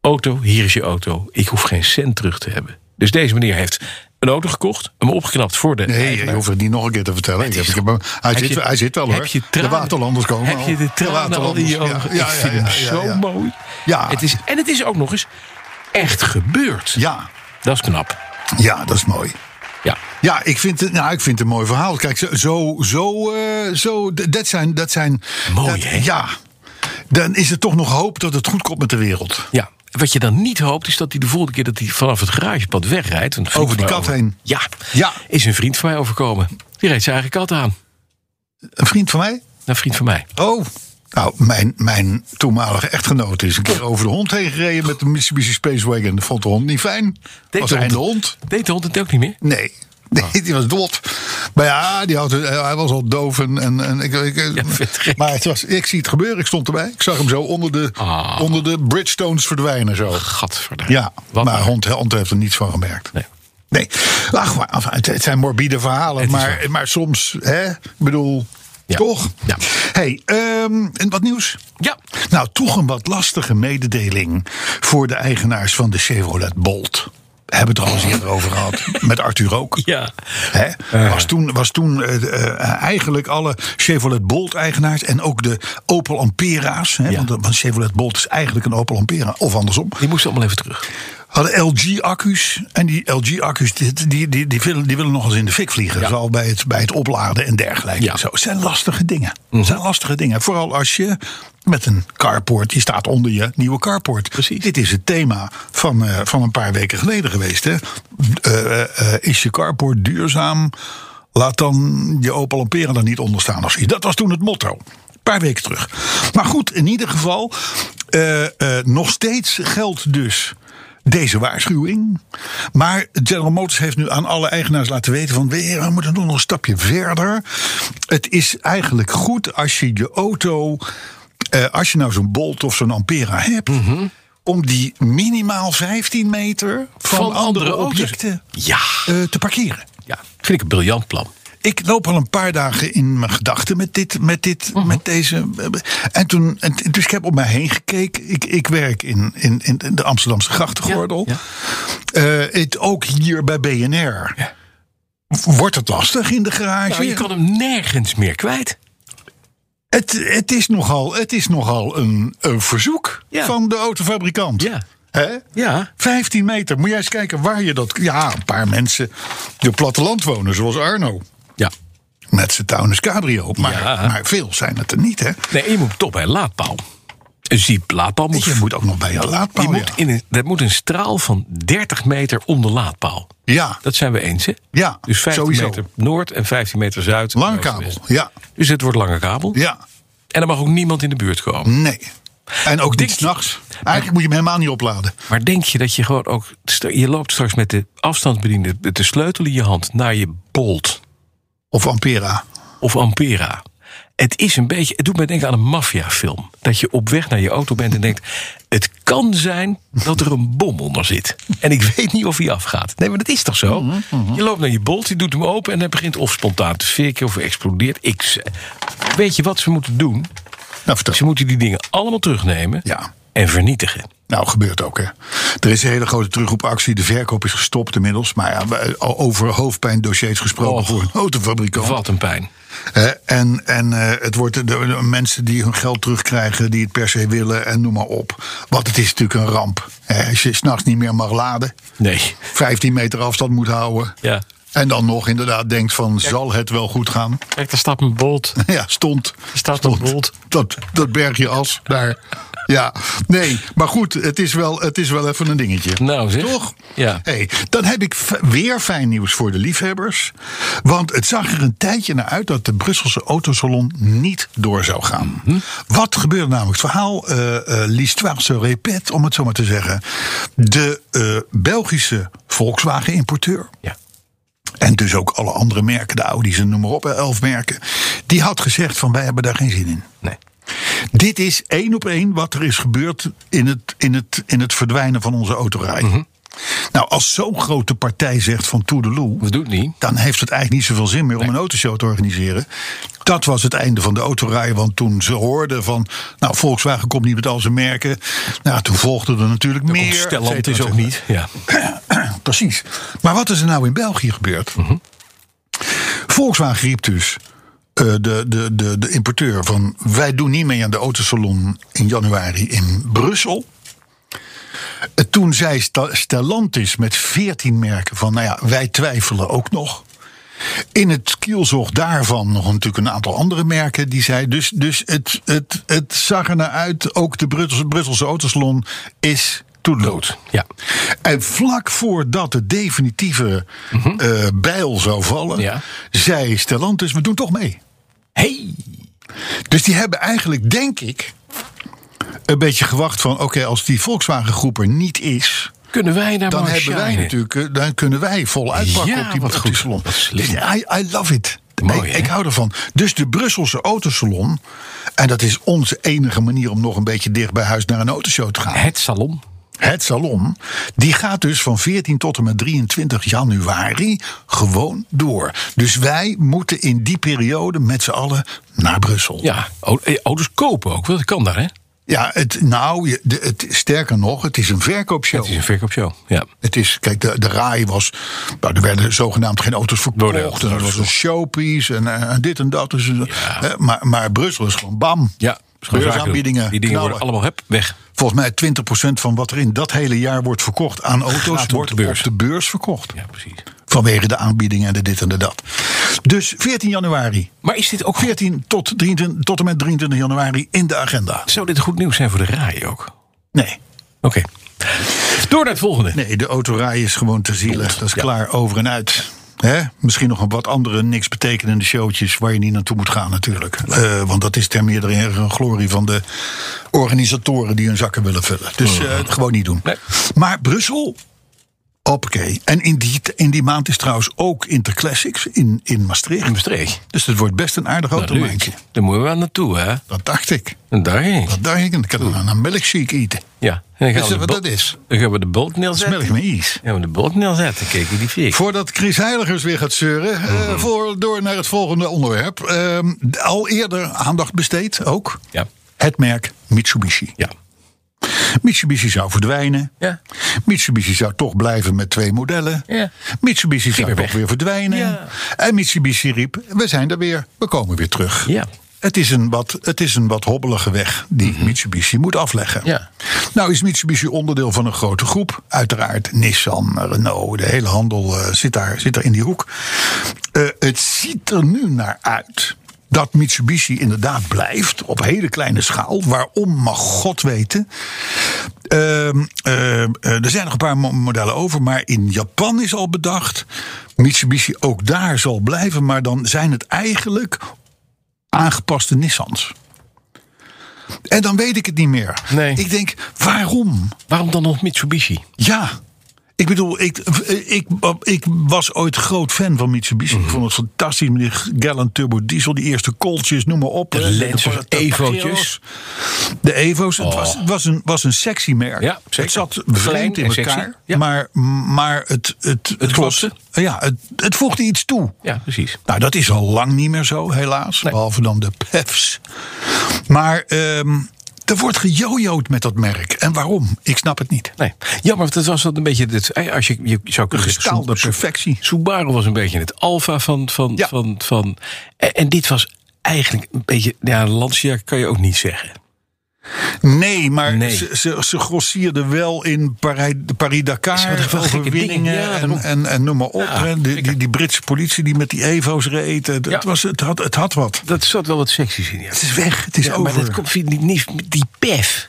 Speaker 3: Auto, hier is je auto. Ik hoef geen cent terug te hebben. Dus deze meneer heeft een auto gekocht, hem opgeknapt voor de.
Speaker 2: Nee, je
Speaker 3: eigenaar.
Speaker 2: hoeft het niet nog een keer te vertellen. Ik heb, ik heb hem- hij,
Speaker 3: Heb
Speaker 2: zit,
Speaker 3: je-
Speaker 2: hij zit wel
Speaker 3: heb
Speaker 2: hoor.
Speaker 3: Je tranen,
Speaker 2: de waterlanders komen
Speaker 3: Heb
Speaker 2: al.
Speaker 3: je de tranen al in je
Speaker 2: waterlanders,
Speaker 3: ogen?
Speaker 2: Ja,
Speaker 3: ik
Speaker 2: ja,
Speaker 3: vind
Speaker 2: ja,
Speaker 3: hem
Speaker 2: ja,
Speaker 3: zo
Speaker 2: ja.
Speaker 3: mooi.
Speaker 2: Ja.
Speaker 3: Het is, en het is ook nog eens echt gebeurd.
Speaker 2: Ja,
Speaker 3: Dat is knap.
Speaker 2: ja, dat is mooi.
Speaker 3: Ja.
Speaker 2: Ja, ik vind het, nou, ik vind het een mooi verhaal. Kijk, zo, zo, zo, eh, zo d- dat zijn, dat zijn...
Speaker 3: Mooi,
Speaker 2: dat-
Speaker 3: hè?
Speaker 2: Ja. Dan is er toch nog hoop dat het goed komt met de wereld.
Speaker 3: Ja, wat je dan niet hoopt is dat hij de volgende keer dat hij vanaf het garagepad wegrijdt. een vriend
Speaker 2: Over die
Speaker 3: van mij
Speaker 2: kat heen.
Speaker 3: Ja,
Speaker 2: Ja.
Speaker 3: Is een vriend van mij overkomen. Die reed zijn eigen kat aan.
Speaker 2: Een vriend van mij?
Speaker 3: Een vriend van mij.
Speaker 2: Oh. Nou, mijn, mijn toenmalige echtgenoot is een keer over de hond heen gereden met de Mitsubishi Space Wagon. Dat vond de hond niet fijn.
Speaker 3: Deed
Speaker 2: Was
Speaker 3: de
Speaker 2: hij de
Speaker 3: hond-
Speaker 2: hond?
Speaker 3: Deed de hond het ook niet meer?
Speaker 2: Nee.
Speaker 3: Ah.
Speaker 2: Nee, die was dood. Maar ja, die auto, hij was al doof. En, en, en ik, ik,
Speaker 3: Ja, vind ik gek.
Speaker 2: maar het was, ik zie het gebeuren, ik stond erbij. Ik zag hem zo onder de,
Speaker 3: Ah.
Speaker 2: onder de Bridgestones verdwijnen. Zo.
Speaker 3: Gadverdamme.
Speaker 2: Ja,
Speaker 3: Wat nou?
Speaker 2: maar
Speaker 3: een-
Speaker 2: hond, hond heeft er niets van gemerkt.
Speaker 3: Nee.
Speaker 2: Nee, Ach, maar, enfin, het, het zijn morbide verhalen,
Speaker 3: Het is
Speaker 2: maar,
Speaker 3: waar.
Speaker 2: maar soms, hè, ik bedoel,
Speaker 3: Ja.
Speaker 2: toch?
Speaker 3: Ja.
Speaker 2: hey, ehm, en wat nieuws?
Speaker 3: Ja.
Speaker 2: Nou, toch een wat lastige mededeling voor de eigenaars van de Chevrolet Bolt. We hebben het er al eens eerder over gehad, met Arthur ook.
Speaker 3: Ja.
Speaker 2: Hè? Was toen, was toen eh, eh, eigenlijk alle Chevrolet Bolt-eigenaars en ook de Opel Ampera's. Hè,
Speaker 3: Ja.
Speaker 2: want, de- want Chevrolet Bolt is eigenlijk een Opel Ampera, of andersom
Speaker 3: Die moest allemaal even terug.
Speaker 2: hadden LG-accu's. En die LG-accu's die, die, die, die, willen, die willen nog eens in de fik vliegen.
Speaker 3: Ja.
Speaker 2: Vooral bij het, bij het opladen en dergelijke.
Speaker 3: Ja. Mhm.
Speaker 2: Zo. Het zijn lastige dingen. Het zijn lastige dingen. Vooral als je met een carport, die staat onder je nieuwe carport.
Speaker 3: Precies.
Speaker 2: Dit is het thema van, eh, van een paar weken geleden geweest. Hè? Eh, eh, eh, is je carport duurzaam? Laat dan je Opel Ampera daar niet onder staan. Of zoiets. Dat was toen het motto. Een paar weken terug. Maar goed, in ieder geval, eh, eh, nog steeds geldt dus deze waarschuwing. Maar General Motors heeft nu aan alle eigenaars laten weten van we we moeten nog een stapje verder. Het is eigenlijk goed als je je auto, eh, als je nou zo'n Bolt of zo'n Ampera hebt, om die minimaal 15 meter van, andere,
Speaker 3: auto's.
Speaker 2: objecten
Speaker 3: Ja.
Speaker 2: eh, te parkeren.
Speaker 3: ja. Vind ik een briljant plan.
Speaker 2: Ik loop al een paar dagen in mijn gedachten met dit, met dit,
Speaker 3: Mhm.
Speaker 2: met deze. En toen, en t- dus ik heb om mij heen gekeken. Ik, ik werk in, in, in de Amsterdamse grachtengordel.
Speaker 3: Ja,
Speaker 2: Eh, het, ook hier bij BNR. Wordt het lastig in de garage?
Speaker 3: Nou, je kan hem nergens meer kwijt.
Speaker 2: het, het is nogal, het is nogal een, een verzoek
Speaker 3: Ja.
Speaker 2: van de autofabrikant.
Speaker 3: Ja.
Speaker 2: Hè?
Speaker 3: Ja.
Speaker 2: 15 meter. Moet jij eens kijken waar je dat. Ja, een paar mensen die op platteland wonen, zoals Arno.
Speaker 3: Ja.
Speaker 2: Met zijn Taunus Cabrio. Maar,
Speaker 3: Ja.
Speaker 2: maar veel zijn het er niet, hè?
Speaker 3: Nee, je moet toch bij een laadpaal. Een ziep laadpaal moet...
Speaker 2: Je moet ook nog bij je laadpaal.
Speaker 3: die
Speaker 2: ja.
Speaker 3: moet in een, dat moet een straal van 30 meter om de laadpaal.
Speaker 2: Ja,
Speaker 3: Dat zijn we eens, hè?
Speaker 2: Ja,
Speaker 3: Dus 15
Speaker 2: sowieso.
Speaker 3: meter noord en 15 meter zuid.
Speaker 2: lange
Speaker 3: Oost en
Speaker 2: kabel.
Speaker 3: west.
Speaker 2: Ja,
Speaker 3: Dus het wordt lange kabel.
Speaker 2: ja, Mm.
Speaker 3: En er mag ook niemand in de buurt komen.
Speaker 2: nee. En ook
Speaker 3: Denk
Speaker 2: niet
Speaker 3: je-
Speaker 2: s'nachts. Eigenlijk moet je hem helemaal niet opladen.
Speaker 3: Maar denk je dat je gewoon ook... Je loopt straks met de afstandsbediende, met de sleutel in je hand... naar je Bolt
Speaker 2: Of Ampera.
Speaker 3: of Ampera. het is een beetje. Het doet mij denken aan een maffiafilm. Dat je op weg naar je auto bent en denkt. Het kan zijn dat er een bom onder zit. En ik weet niet of hij afgaat. Nee, maar dat is toch zo?
Speaker 2: Mhm,
Speaker 3: Je loopt naar je bolt, je doet hem open en hij begint of spontaan te fikken of explodeert. Ik, z- weet je wat ze moeten doen?
Speaker 2: Nou, vertel.
Speaker 3: Ze moeten die dingen allemaal terugnemen
Speaker 2: Ja.
Speaker 3: en vernietigen.
Speaker 2: Nou, gebeurt ook, hè. Er is een hele grote terugroepactie. De verkoop is gestopt inmiddels. Maar ja, we- al over hoofdpijndossiers gesproken
Speaker 3: Och.
Speaker 2: voor een autofabrikant.
Speaker 3: Wat een pijn.
Speaker 2: Hè, en en eh, het wordt de, de mensen die hun geld terugkrijgen, die het per se willen en noem maar op. Want het is natuurlijk een ramp. Hè, als je s'nachts niet meer mag laden,
Speaker 3: Nee.
Speaker 2: 15 meter afstand moet houden.
Speaker 3: Ja.
Speaker 2: En dan nog inderdaad denkt van, zal het wel goed gaan?
Speaker 6: Kijk, daar staat een bolt.
Speaker 2: Ja, stond.
Speaker 6: Er staat een bolt.
Speaker 2: Dat, dat bergje as daar. Ja, nee, maar goed, het is wel, het is wel even een dingetje.
Speaker 3: Nou, zeg.
Speaker 2: Toch?
Speaker 3: Ja.
Speaker 2: Hey, dan heb ik f- weer fijn nieuws voor de liefhebbers. Want het zag er een tijdje naar uit dat de Brusselse autosalon niet door zou gaan. Wat gebeurde namelijk? Het verhaal, eh eh, l'histoire se répète, om het zo maar te zeggen. De eh, Belgische Volkswagen-importeur.
Speaker 3: Ja.
Speaker 2: En dus ook alle andere merken, de Audi's en noem maar op, hè, elf merken. Die had gezegd van wij hebben daar geen zin in.
Speaker 3: Nee.
Speaker 2: Dit is één op één wat er is gebeurd in het, in het, in het verdwijnen van onze autorij.
Speaker 3: Mhm.
Speaker 2: Nou, als zo'n grote partij zegt van toedeloe...
Speaker 3: We doen het niet.
Speaker 2: dan heeft het eigenlijk niet zoveel zin meer om een autoshow te organiseren. Dat was het einde van de autorij, want toen ze hoorden van... nou, Volkswagen komt niet met al zijn merken. Nou, toen volgde er natuurlijk meer. et
Speaker 3: Stelland
Speaker 2: cetera,
Speaker 3: is ook
Speaker 2: et cetera.
Speaker 3: niet. Ja.
Speaker 2: Precies. Maar wat is er nou in België gebeurd? Volkswagen riep dus eh, de, de, de, de importeur van... wij doen niet mee aan de autosalon in januari in Brussel. Eh, Toen zei Sta- Stellantis met 14 merken van... nou ja, wij twijfelen ook nog. In het kielzog daarvan nog natuurlijk een aantal andere merken die zei. Dus, dus het, het, het zag er naar uit, ook de Brusselse, Brusselse autosalon is toedeloos.
Speaker 3: Ja.
Speaker 2: En vlak voordat de definitieve eh, bijl zou vallen,
Speaker 3: Mhm. Ja.
Speaker 2: zei Stellantis, we doen toch mee.
Speaker 3: Hey.
Speaker 2: Dus die hebben eigenlijk, denk ik, een beetje gewacht van... oké, als die Volkswagen groep er niet is...
Speaker 3: Kunnen wij daar
Speaker 2: dan,
Speaker 3: maar
Speaker 2: hebben wij
Speaker 3: shinen?
Speaker 2: natuurlijk, eh, dan kunnen wij vol uitpakken
Speaker 3: Ja,
Speaker 2: op die,
Speaker 3: wat
Speaker 2: op die
Speaker 3: goed.
Speaker 2: salon.
Speaker 3: Wat slim.
Speaker 2: Dus I, I love it.
Speaker 3: Mooi,
Speaker 2: ik,
Speaker 3: hè?
Speaker 2: ik hou ervan. Dus de Brusselse autosalon... en dat is onze enige manier om nog een beetje dicht bij huis naar een autoshow te gaan...
Speaker 3: Het salon.
Speaker 2: Het salon, die gaat dus van 14 tot en met 23 januari gewoon door. Dus wij moeten in die periode met z'n allen naar Brussel.
Speaker 3: Ja. O- eh, Auto's kopen ook. Dat kan daar, hè?
Speaker 2: Ja, het, nou, je- de- het, sterker nog, het is een verkoopshow.
Speaker 3: Het is een verkoopshow. Ja.
Speaker 2: Het is, kijk, de, de RAI was. Nou, er werden zogenaamd geen auto's verkocht.
Speaker 3: Worden
Speaker 2: en er was een showpiece en, eh, en dit en dat. Dus, eh, hè, maar, maar Brussel is gewoon bam.
Speaker 3: Ja. is gewoon zaken doen.
Speaker 2: Beursaanbiedingen.
Speaker 3: Die dingen worden
Speaker 2: knallen.
Speaker 3: allemaal heb, weg.
Speaker 2: Volgens mij 20% van wat er in dat hele jaar wordt verkocht aan auto's,
Speaker 3: op de
Speaker 2: wordt
Speaker 3: beurs.
Speaker 2: op de beurs verkocht.
Speaker 3: Ja, precies.
Speaker 2: Vanwege de aanbiedingen en de dit en de dat. Dus 14 januari.
Speaker 3: Maar is dit ook...
Speaker 2: 14 tot, 23, tot en met 23 januari in de agenda.
Speaker 3: Zou dit goed nieuws zijn voor de RAI ook? Oké.
Speaker 2: Nee.
Speaker 3: Door naar het volgende.
Speaker 2: Nee, de autorij is gewoon te zielig. Dat is
Speaker 3: Ja.
Speaker 2: klaar over en uit. Hè? Misschien nog een wat andere niks betekenende showtjes waar je niet naartoe moet gaan natuurlijk. Eh, want dat is ter meerdere heren een glorie van de organisatoren die hun zakken willen vullen. Dus eh, gewoon niet doen.
Speaker 3: Nee.
Speaker 2: Maar Brussel, hoppakee. En in die, in die maand is trouwens ook Interclassics in, in
Speaker 3: In
Speaker 2: Maastricht.
Speaker 3: Maastricht.
Speaker 2: Dus het wordt best een aardig
Speaker 3: Mm. Nou, nu,
Speaker 2: automaatje.
Speaker 3: daar moeten we wel naartoe, hè?
Speaker 2: Dat dacht ik.
Speaker 3: En daar heen.
Speaker 2: Dat dacht ik. En ik kan dan een milkshake eten.
Speaker 3: Ja. En dan
Speaker 2: Weet
Speaker 3: we
Speaker 2: je
Speaker 3: de
Speaker 2: wat
Speaker 3: bo-
Speaker 2: dat is?
Speaker 3: Dan gaan we de boot
Speaker 2: Dat is melk
Speaker 3: neerzetten.
Speaker 2: met ijs.
Speaker 3: Ja, we de boot neerzetten. Kijk, die fik.
Speaker 2: Voordat Chris Heiligers weer gaat zeuren, eh, voor, door naar het volgende onderwerp. Ehm, d- al eerder aandacht besteed ook.
Speaker 3: Ja.
Speaker 2: Het merk Mitsubishi.
Speaker 3: Ja.
Speaker 2: Mitsubishi zou verdwijnen.
Speaker 3: Ja.
Speaker 2: Mitsubishi zou toch blijven met twee modellen.
Speaker 3: Ja.
Speaker 2: Mitsubishi zou
Speaker 3: weer
Speaker 2: toch
Speaker 3: weg.
Speaker 2: weer verdwijnen.
Speaker 3: Ja.
Speaker 2: En Mitsubishi riep: We zijn er weer, we komen weer terug.
Speaker 3: Ja.
Speaker 2: Het is, een wat, het is een wat hobbelige weg die Mitsubishi moet afleggen.
Speaker 3: Ja.
Speaker 2: Nou is Mitsubishi onderdeel van een grote groep. Uiteraard Nissan, Renault, de hele handel eh, zit, daar, zit daar in die hoek. Eh, het ziet er nu naar uit dat Mitsubishi inderdaad blijft op hele kleine schaal. Waarom mag God weten. Ehm, ehm, eh, er zijn nog een paar mo- modellen over, maar in Japan is al bedacht. Mitsubishi ook daar zal blijven, maar dan zijn het eigenlijk aangepaste Nissans. En dan weet ik het niet meer.
Speaker 3: Nee.
Speaker 2: Ik denk, waarom?
Speaker 3: Waarom dan nog Mitsubishi?
Speaker 2: Ja. Ik bedoel, ik, ik, ik was ooit groot fan van Mitsubishi.
Speaker 3: Mhm.
Speaker 2: Ik vond het fantastisch. Meneer Gallant Turbo Diesel, die eerste kooltjes, noem maar op.
Speaker 3: De
Speaker 2: hè.
Speaker 3: Lancers,
Speaker 2: de
Speaker 3: Evo'tjes.
Speaker 2: De Evo's. Het was, het was, een, was een sexy merk.
Speaker 3: Oh. Ja, zeker.
Speaker 2: Het zat
Speaker 3: Klein
Speaker 2: vreemd in
Speaker 3: en sexy.
Speaker 2: elkaar.
Speaker 3: Ja.
Speaker 2: Maar, maar het, het, het,
Speaker 3: klopte.
Speaker 2: was- ja, het, het voegde iets toe.
Speaker 3: Ja, precies.
Speaker 2: Nou, dat is al lang niet meer zo, helaas.
Speaker 3: Nee.
Speaker 2: Behalve dan de PEFs. Maar ehm, er wordt gejojoed met dat merk. En waarom? Ik snap het niet.
Speaker 3: Nee. Jammer, want het was dat een beetje. Dit, eh, als je, je zou kunnen
Speaker 2: Gestaalde
Speaker 3: Su- Su-
Speaker 2: perfectie.
Speaker 3: Subaru was een beetje het alfa van. van,
Speaker 2: Ja.
Speaker 3: van, van en, en dit was eigenlijk een beetje. Ja, Lancia kan je ook niet zeggen.
Speaker 2: Nee, maar
Speaker 3: Nee.
Speaker 2: Ze, ze, ze grossierden wel in Parij- de
Speaker 3: Ze
Speaker 2: Paris-Dakar.
Speaker 3: hadden wel gekke
Speaker 2: overwinningen
Speaker 3: dingen, ja, daarom.
Speaker 2: en, en, en noem maar op.
Speaker 3: Ja,
Speaker 2: hè. die, die, die Britse politie die met die Evo's reed. Het,
Speaker 3: Ja.
Speaker 2: het was, het, had, het had wat.
Speaker 3: Dat zat wel wat seksies in. Ja.
Speaker 2: Het is weg. Het is
Speaker 3: Ja,
Speaker 2: over.
Speaker 3: Maar dat komt via die, die, die PEF.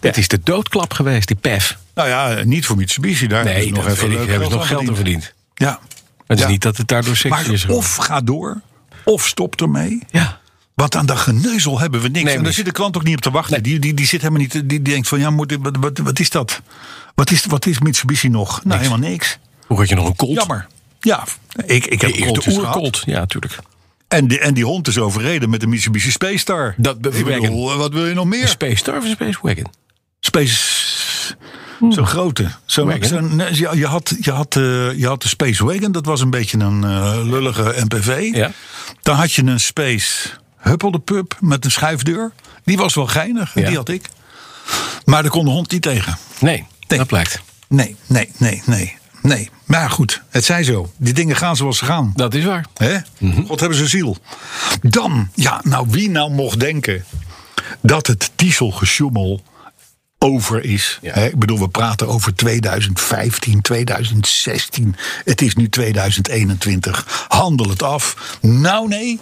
Speaker 3: Dat is de doodklap geweest, die PEF.
Speaker 2: Nou ja, niet voor Mitsubishi. Daar hebben
Speaker 3: Nee,
Speaker 2: ze
Speaker 3: nog
Speaker 2: nog even leuk
Speaker 3: hebben ze nog geld aan verdiend.
Speaker 2: Ja.
Speaker 3: Het is
Speaker 2: Ja.
Speaker 3: niet dat het daardoor sexy is.
Speaker 2: Maar
Speaker 3: geworden.
Speaker 2: of ga door, of stop ermee.
Speaker 3: Ja.
Speaker 2: Want aan dat geneuzel hebben we niks.
Speaker 3: Nee,
Speaker 2: en daar
Speaker 3: niet.
Speaker 2: zit de klant ook niet op te wachten. Die, die, die zit helemaal niet. Die, die denkt van ja, moet, ik- wat, wat, wat is dat? Wat is, wat is Mitsubishi nog? Nou, helemaal niks.
Speaker 3: Hoe had je nog een colt?
Speaker 2: Jammer. Ja, ik, ik heb
Speaker 3: De eerste
Speaker 2: Coltjes gehad.
Speaker 3: oercolt. Ja, natuurlijk.
Speaker 2: En die, en die hond is overreden met de Mitsubishi Space Star.
Speaker 3: Dat be-
Speaker 2: ik bedoel, eh, wat wil je nog meer?
Speaker 3: Space Star of een Space Wagon?
Speaker 2: Space. Zo'n grote. Zo'n,
Speaker 3: Hmm. Wagon.
Speaker 2: zo'n- nee, je, je, had, je, had, eh, je had de Space Wagon, dat was een beetje een eh, lullige MPV.
Speaker 3: Ja.
Speaker 2: Dan had je een Space Huppelde Pup met een schuifdeur. Die was wel geinig,
Speaker 3: Ja.
Speaker 2: die had ik. Maar daar kon de hond niet tegen.
Speaker 3: Nee, dat blijkt.
Speaker 2: Nee, nee, nee, nee. Nee, maar goed, het zij zo. Die dingen gaan zoals ze gaan.
Speaker 3: Dat is waar.
Speaker 2: Hè?
Speaker 3: Mhm.
Speaker 2: God hebben ze ziel. Dan, ja, nou wie nou mocht denken dat het dieselgesjoemel over is. Hè? Ik bedoel, we praten over 2015, 2016. Het is nu 2021. Handel het af. Nou nee,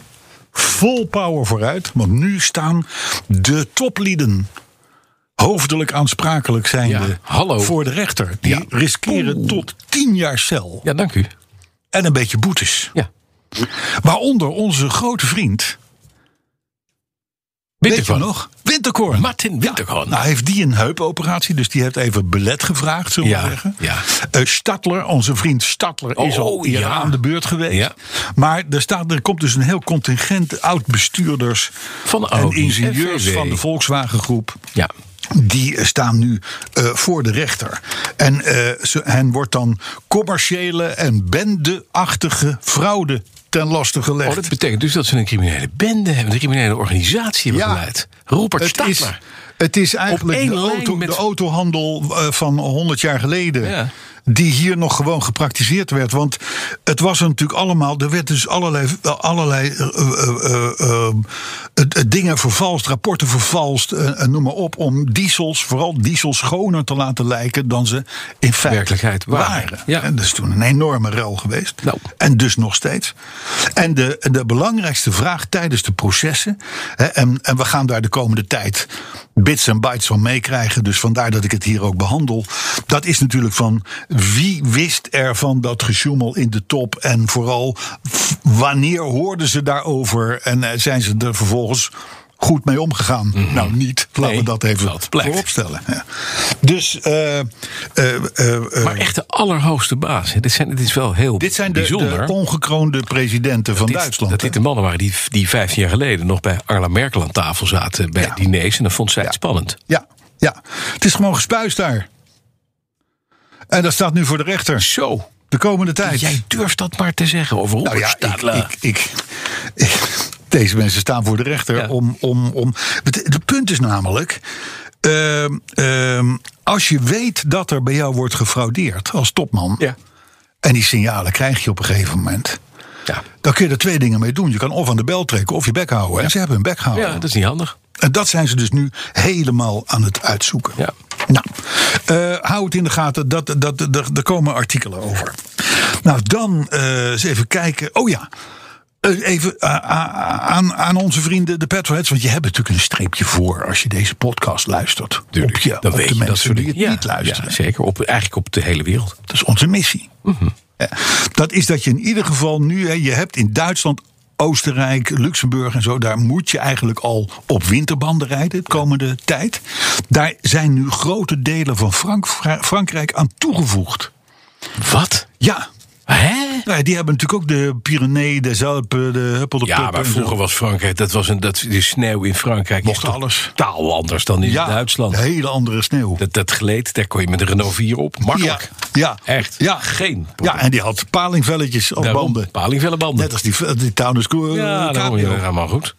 Speaker 2: vol power vooruit. Want nu staan de toplieden hoofdelijk aansprakelijk zijnde
Speaker 3: Ja, hallo.
Speaker 2: voor de rechter. Die
Speaker 3: Ja.
Speaker 2: riskeren tot 10 jaar cel
Speaker 3: Ja, dank u.
Speaker 2: en een beetje boetes.
Speaker 3: Ja.
Speaker 2: Waaronder onze grote vriend. Weet je
Speaker 3: Winterkorn.
Speaker 2: nog? Winterkorn.
Speaker 3: Martin Winterkorn.
Speaker 2: Nou, heeft die een heupoperatie, dus die heeft even belet gevraagd, zullen
Speaker 3: Ja,
Speaker 2: we zeggen.
Speaker 3: ja.
Speaker 2: Eh, Stadler, onze vriend Stadler, is
Speaker 3: Oh,
Speaker 2: al eerder
Speaker 3: ja.
Speaker 2: aan de beurt geweest.
Speaker 3: Ja.
Speaker 2: Maar er, staat, er komt dus een heel contingent oud-bestuurders
Speaker 3: Van
Speaker 2: en
Speaker 3: Audi,
Speaker 2: ingenieurs
Speaker 3: FVW.
Speaker 2: van de Volkswagen Groep.
Speaker 3: Ja.
Speaker 2: Die eh, staan nu eh, voor de rechter. En eh, ze, hen wordt dan commerciële en bendeachtige fraude ten laste gelegd.
Speaker 3: Oh, dat betekent dus dat ze een criminele bende hebben, een criminele organisatie hebben
Speaker 2: Ja.
Speaker 3: geleid. Robert
Speaker 2: het is,
Speaker 3: Stadler.
Speaker 2: het is eigenlijk
Speaker 3: één
Speaker 2: de,
Speaker 3: lijn
Speaker 2: auto,
Speaker 3: met-
Speaker 2: de autohandel eh, van 100 jaar geleden.
Speaker 3: Ja.
Speaker 2: Die hier nog gewoon gepraktiseerd werd. Want het was er natuurlijk allemaal. Er werd dus allerlei, allerlei eh, eh, eh, eh, eh, dingen vervalst, rapporten vervalst. eh, eh, noem maar op. Om diesels, vooral diesels, schoner te laten lijken dan ze in feite
Speaker 3: Werkelijkheid waren. Ja.
Speaker 2: En dat is toen een enorme ruil geweest.
Speaker 3: Nou.
Speaker 2: En dus nog steeds. En de, de belangrijkste vraag tijdens de processen. Hè, en, en we gaan daar de komende tijd bits en bytes van meekrijgen. Dus vandaar dat ik het hier ook behandel. Dat is natuurlijk van wie wist er van dat gesjoemel in de top. En vooral f- wanneer hoorden ze daarover. En eh, zijn ze er vervolgens goed mee omgegaan? Nou, niet. Laten
Speaker 3: Mhm. Nee,
Speaker 2: we dat even
Speaker 3: dat blijkt.
Speaker 2: vooropstellen. Ja. Dus. eh, eh, eh, eh,
Speaker 3: Maar echt de allerhoogste baas. hè. Dit, zijn, dit is wel heel
Speaker 2: dit zijn de,
Speaker 3: bijzonder.
Speaker 2: de ongekroonde presidenten van
Speaker 3: dit-
Speaker 2: Duitsland.
Speaker 3: Dat dit
Speaker 2: hè?
Speaker 3: de mannen waren die, die 15 jaar geleden nog bij Angela Merkel aan tafel zaten bij
Speaker 2: Ja.
Speaker 3: diners. En dan vond zij het spannend.
Speaker 2: Ja, ja. Het is gewoon gespuis daar. En dat staat nu voor de rechter.
Speaker 3: Zo.
Speaker 2: De komende tijd.
Speaker 3: Jij durft dat maar te zeggen over Robert
Speaker 2: nou ja, ik,
Speaker 3: Stadler.
Speaker 2: ik, ik, ik- Deze mensen staan voor de rechter
Speaker 3: Ja.
Speaker 2: om, om, om. Het het punt is namelijk. ehm, ehm, als je weet dat er bij jou wordt gefraudeerd als topman.
Speaker 3: Ja.
Speaker 2: En die signalen krijg je op een gegeven moment.
Speaker 3: Ja.
Speaker 2: Dan kun je er twee dingen mee doen. Je kan of aan de bel trekken of je bek houden. En ze hebben hun bek gehouden.
Speaker 3: ja, dat is niet handig.
Speaker 2: En dat zijn ze dus nu helemaal aan het uitzoeken.
Speaker 3: Ja.
Speaker 2: Nou, eh, hou het in de gaten, dat, dat, dat, er- er komen artikelen over. Nou, dan eh, eens even kijken. Oh ja. eh, Even eh, a- aan, aan onze vrienden de Petrolheads. Want je hebt natuurlijk een streepje voor als je deze podcast luistert.
Speaker 3: Tuurlijk.
Speaker 2: op je,
Speaker 3: dan
Speaker 2: op
Speaker 3: weet
Speaker 2: de
Speaker 3: je dat
Speaker 2: mensen
Speaker 3: soort
Speaker 2: die
Speaker 3: dingen.
Speaker 2: het niet luisteren.
Speaker 3: Ja, zeker. Op, eigenlijk op de hele wereld.
Speaker 2: Dat is onze missie.
Speaker 3: Mhm.
Speaker 2: Ja. Dat is dat je in ieder geval nu, hè, je hebt in Duitsland, Oostenrijk, Luxemburg en zo, daar moet je eigenlijk al op winterbanden rijden de komende tijd. Daar zijn nu grote delen van Frank- Fra- Frankrijk aan toegevoegd.
Speaker 3: Wat?
Speaker 2: Ja.
Speaker 3: Hè?
Speaker 2: Nou ja, die hebben natuurlijk ook de Pyreneeën, de Zuipen, de Huppel de
Speaker 3: Ja,
Speaker 2: Pup
Speaker 3: maar
Speaker 2: en zo.
Speaker 3: vroeger was Frankrijk, dat was een, dat, de sneeuw in Frankrijk
Speaker 2: Mocht
Speaker 3: is
Speaker 2: alles.
Speaker 3: totaal anders dan in
Speaker 2: ja,
Speaker 3: Duitsland.
Speaker 2: een hele andere sneeuw.
Speaker 3: Dat, dat gleed, daar kon je met een Renault 4 op. Makkelijk.
Speaker 2: Ja, ja.
Speaker 3: Echt.
Speaker 2: Ja.
Speaker 3: Geen
Speaker 2: Ja, en die had palingvelletjes op banden.
Speaker 3: Palingvelle banden.
Speaker 2: Net als die, die Taunus Coo-
Speaker 3: ja,
Speaker 2: Cabrio.
Speaker 3: dat je helemaal goed.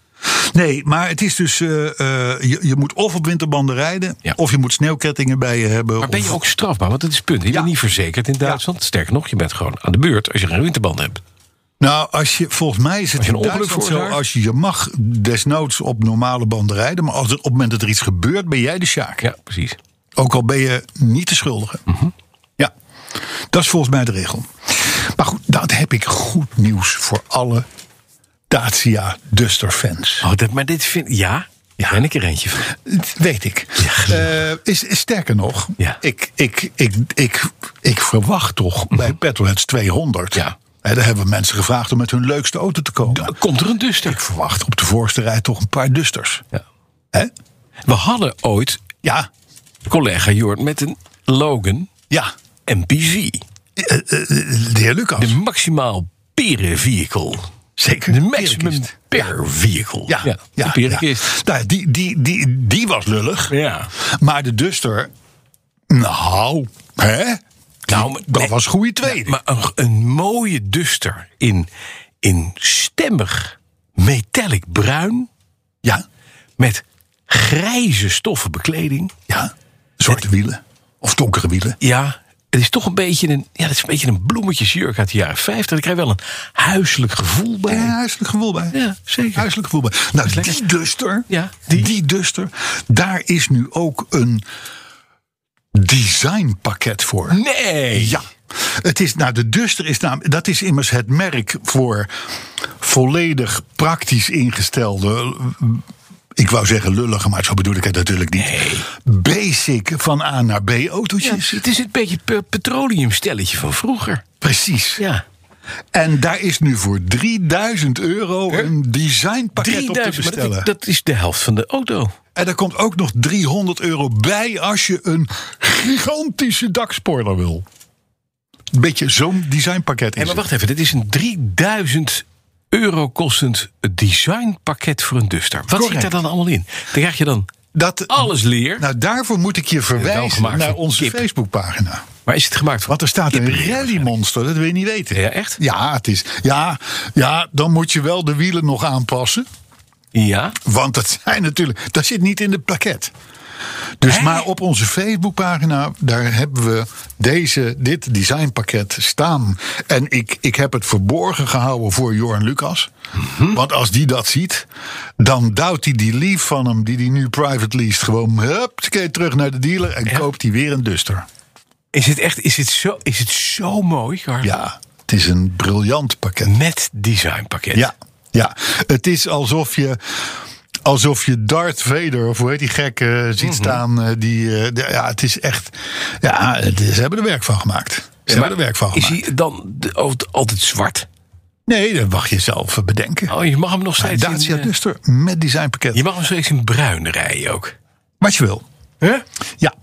Speaker 2: Nee, maar het is dus... eh, eh, je, je moet of op winterbanden rijden...
Speaker 3: Ja.
Speaker 2: of je moet sneeuwkettingen bij je hebben.
Speaker 3: Maar ben
Speaker 2: of-
Speaker 3: je ook strafbaar? Want dat is het punt. Je bent niet verzekerd in Duitsland. Sterker nog, je bent gewoon aan de beurt als je geen winterband hebt.
Speaker 2: Nou, als je, volgens mij is het
Speaker 3: Als je een
Speaker 2: in
Speaker 3: ongeluk
Speaker 2: Duitsland zo...
Speaker 3: veroorzaakt?
Speaker 2: als je, je mag desnoods op normale banden rijden... maar als het, op het moment dat er iets gebeurt, ben jij de sjaak.
Speaker 3: Ja, Mhm. precies.
Speaker 2: Ook al ben je niet de schuldige. Ja, dat is volgens mij de regel. Maar goed, dat heb ik goed nieuws voor alle Dacia Duster fans.
Speaker 3: Oh, dat, maar dit vind Ja, ja. ben ik er eentje van.
Speaker 2: Dat weet ik. Eh, is, is sterker nog,
Speaker 3: Ja. Mhm.
Speaker 2: ik, ik, ik, ik, ik verwacht toch bij Petrolheads 200.
Speaker 3: Ja.
Speaker 2: Hè, daar hebben we mensen gevraagd om met hun leukste auto te komen.
Speaker 3: Komt er een duster?
Speaker 2: ik verwacht op de voorste rij toch een paar Dusters.
Speaker 3: Ja.
Speaker 2: Hè?
Speaker 3: We hadden ooit
Speaker 2: Ja,
Speaker 3: collega Jort met een Logan
Speaker 2: ja.
Speaker 3: MPV.
Speaker 2: Eh, eh, de heer Lucas.
Speaker 3: De maximaal peren vehicle.
Speaker 2: zeker.
Speaker 3: De maximum
Speaker 2: Perenkist.
Speaker 3: per vehicle.
Speaker 2: Ja, ja,
Speaker 3: de
Speaker 2: ja,
Speaker 3: perenkist.
Speaker 2: Nou, ja, die, die, die, die was lullig.
Speaker 3: Ja.
Speaker 2: Maar de Duster, nou, hè?
Speaker 3: Nou, maar-
Speaker 2: dat
Speaker 3: nee.
Speaker 2: was goede tweede.
Speaker 3: Maar een, een mooie duster in, in stemmig metallic bruin
Speaker 2: ja,
Speaker 3: met grijze stoffen bekleding.
Speaker 2: ja. Zwarte wielen. Of donkere wielen.
Speaker 3: Ja, het is toch een beetje een, ja, het is een, beetje een bloemetjesjurk uit de jaren 50. Ik krijg wel een huiselijk gevoel bij.
Speaker 2: Ja, huiselijk gevoel bij.
Speaker 3: Ja, zeker.
Speaker 2: Huiselijk gevoel bij. Nou, die duster,
Speaker 3: Ja,
Speaker 2: die. duster, daar is nu ook een designpakket voor.
Speaker 3: Nee!
Speaker 2: Ja. Het is, nou, de Duster is naam, dat is immers het merk voor volledig praktisch ingestelde. eh, Ik wou zeggen lullige, maar zo bedoel ik het natuurlijk niet. Basic van A naar B
Speaker 3: Ja,
Speaker 2: autootjes.
Speaker 3: het is een beetje het pe- petroleumstelletje van vroeger.
Speaker 2: Precies.
Speaker 3: Ja.
Speaker 2: En daar is nu voor 3000 euro een designpakket op te
Speaker 3: 3000, maar
Speaker 2: bestellen.
Speaker 3: dat, dat is de helft van de auto.
Speaker 2: En daar komt ook nog 300 euro bij als je een gigantische dakspoiler wil. Beetje zo'n designpakket
Speaker 3: Hé,
Speaker 2: is
Speaker 3: maar
Speaker 2: het.
Speaker 3: wacht even, dit is een 3000 euro kostend designpakket voor een Duster. Wat zit
Speaker 2: Correct.
Speaker 3: daar dan allemaal in? Dan krijg je dan
Speaker 2: Dat,
Speaker 3: alles leer.
Speaker 2: Nou, daarvoor moet ik je verwijzen
Speaker 3: gemaakt
Speaker 2: naar
Speaker 3: voor
Speaker 2: onze
Speaker 3: kip.
Speaker 2: Facebookpagina.
Speaker 3: maar is het gemaakt van?
Speaker 2: Want er staat een
Speaker 3: Kippenleer.
Speaker 2: rallymonster, dat wil je niet weten.
Speaker 3: Ja, echt?
Speaker 2: Ja, het is, ja, ja, dan moet je wel de wielen nog aanpassen.
Speaker 3: Ja.
Speaker 2: Want dat zijn natuurlijk, dat zit niet in het pakket. Dus
Speaker 3: Hè?
Speaker 2: maar op onze Facebookpagina, daar hebben we deze, dit designpakket staan. En ik, ik heb het verborgen gehouden voor Jorn Lucas. Want als die dat ziet, dan duwt hij die leaf van hem, die hij nu private leest, gewoon hup, terug naar de dealer en koopt hij weer een duster.
Speaker 3: Is het echt, is het zo, is het zo mooi, Carl?
Speaker 2: Ja, het is een briljant pakket.
Speaker 3: Met designpakket.
Speaker 2: Ja, ja. het is alsof je. Alsof je Darth Vader, of hoe heet die gek, eh, ziet
Speaker 3: Mhm.
Speaker 2: staan. eh, die, eh, de- ja, het is echt. Ja, het is- ze hebben er werk van gemaakt. Ze hebben er werk van
Speaker 3: Is
Speaker 2: gemaakt.
Speaker 3: hij dan de- al- altijd zwart?
Speaker 2: Nee, dat mag je zelf eh, bedenken.
Speaker 3: Oh, je mag hem nog
Speaker 2: Maar
Speaker 3: steeds
Speaker 2: Dacia dus.
Speaker 3: in, eh,
Speaker 2: Duster met designpakket.
Speaker 3: Je mag hem steeds in bruin rijden ook.
Speaker 2: Wat je wil. Ja.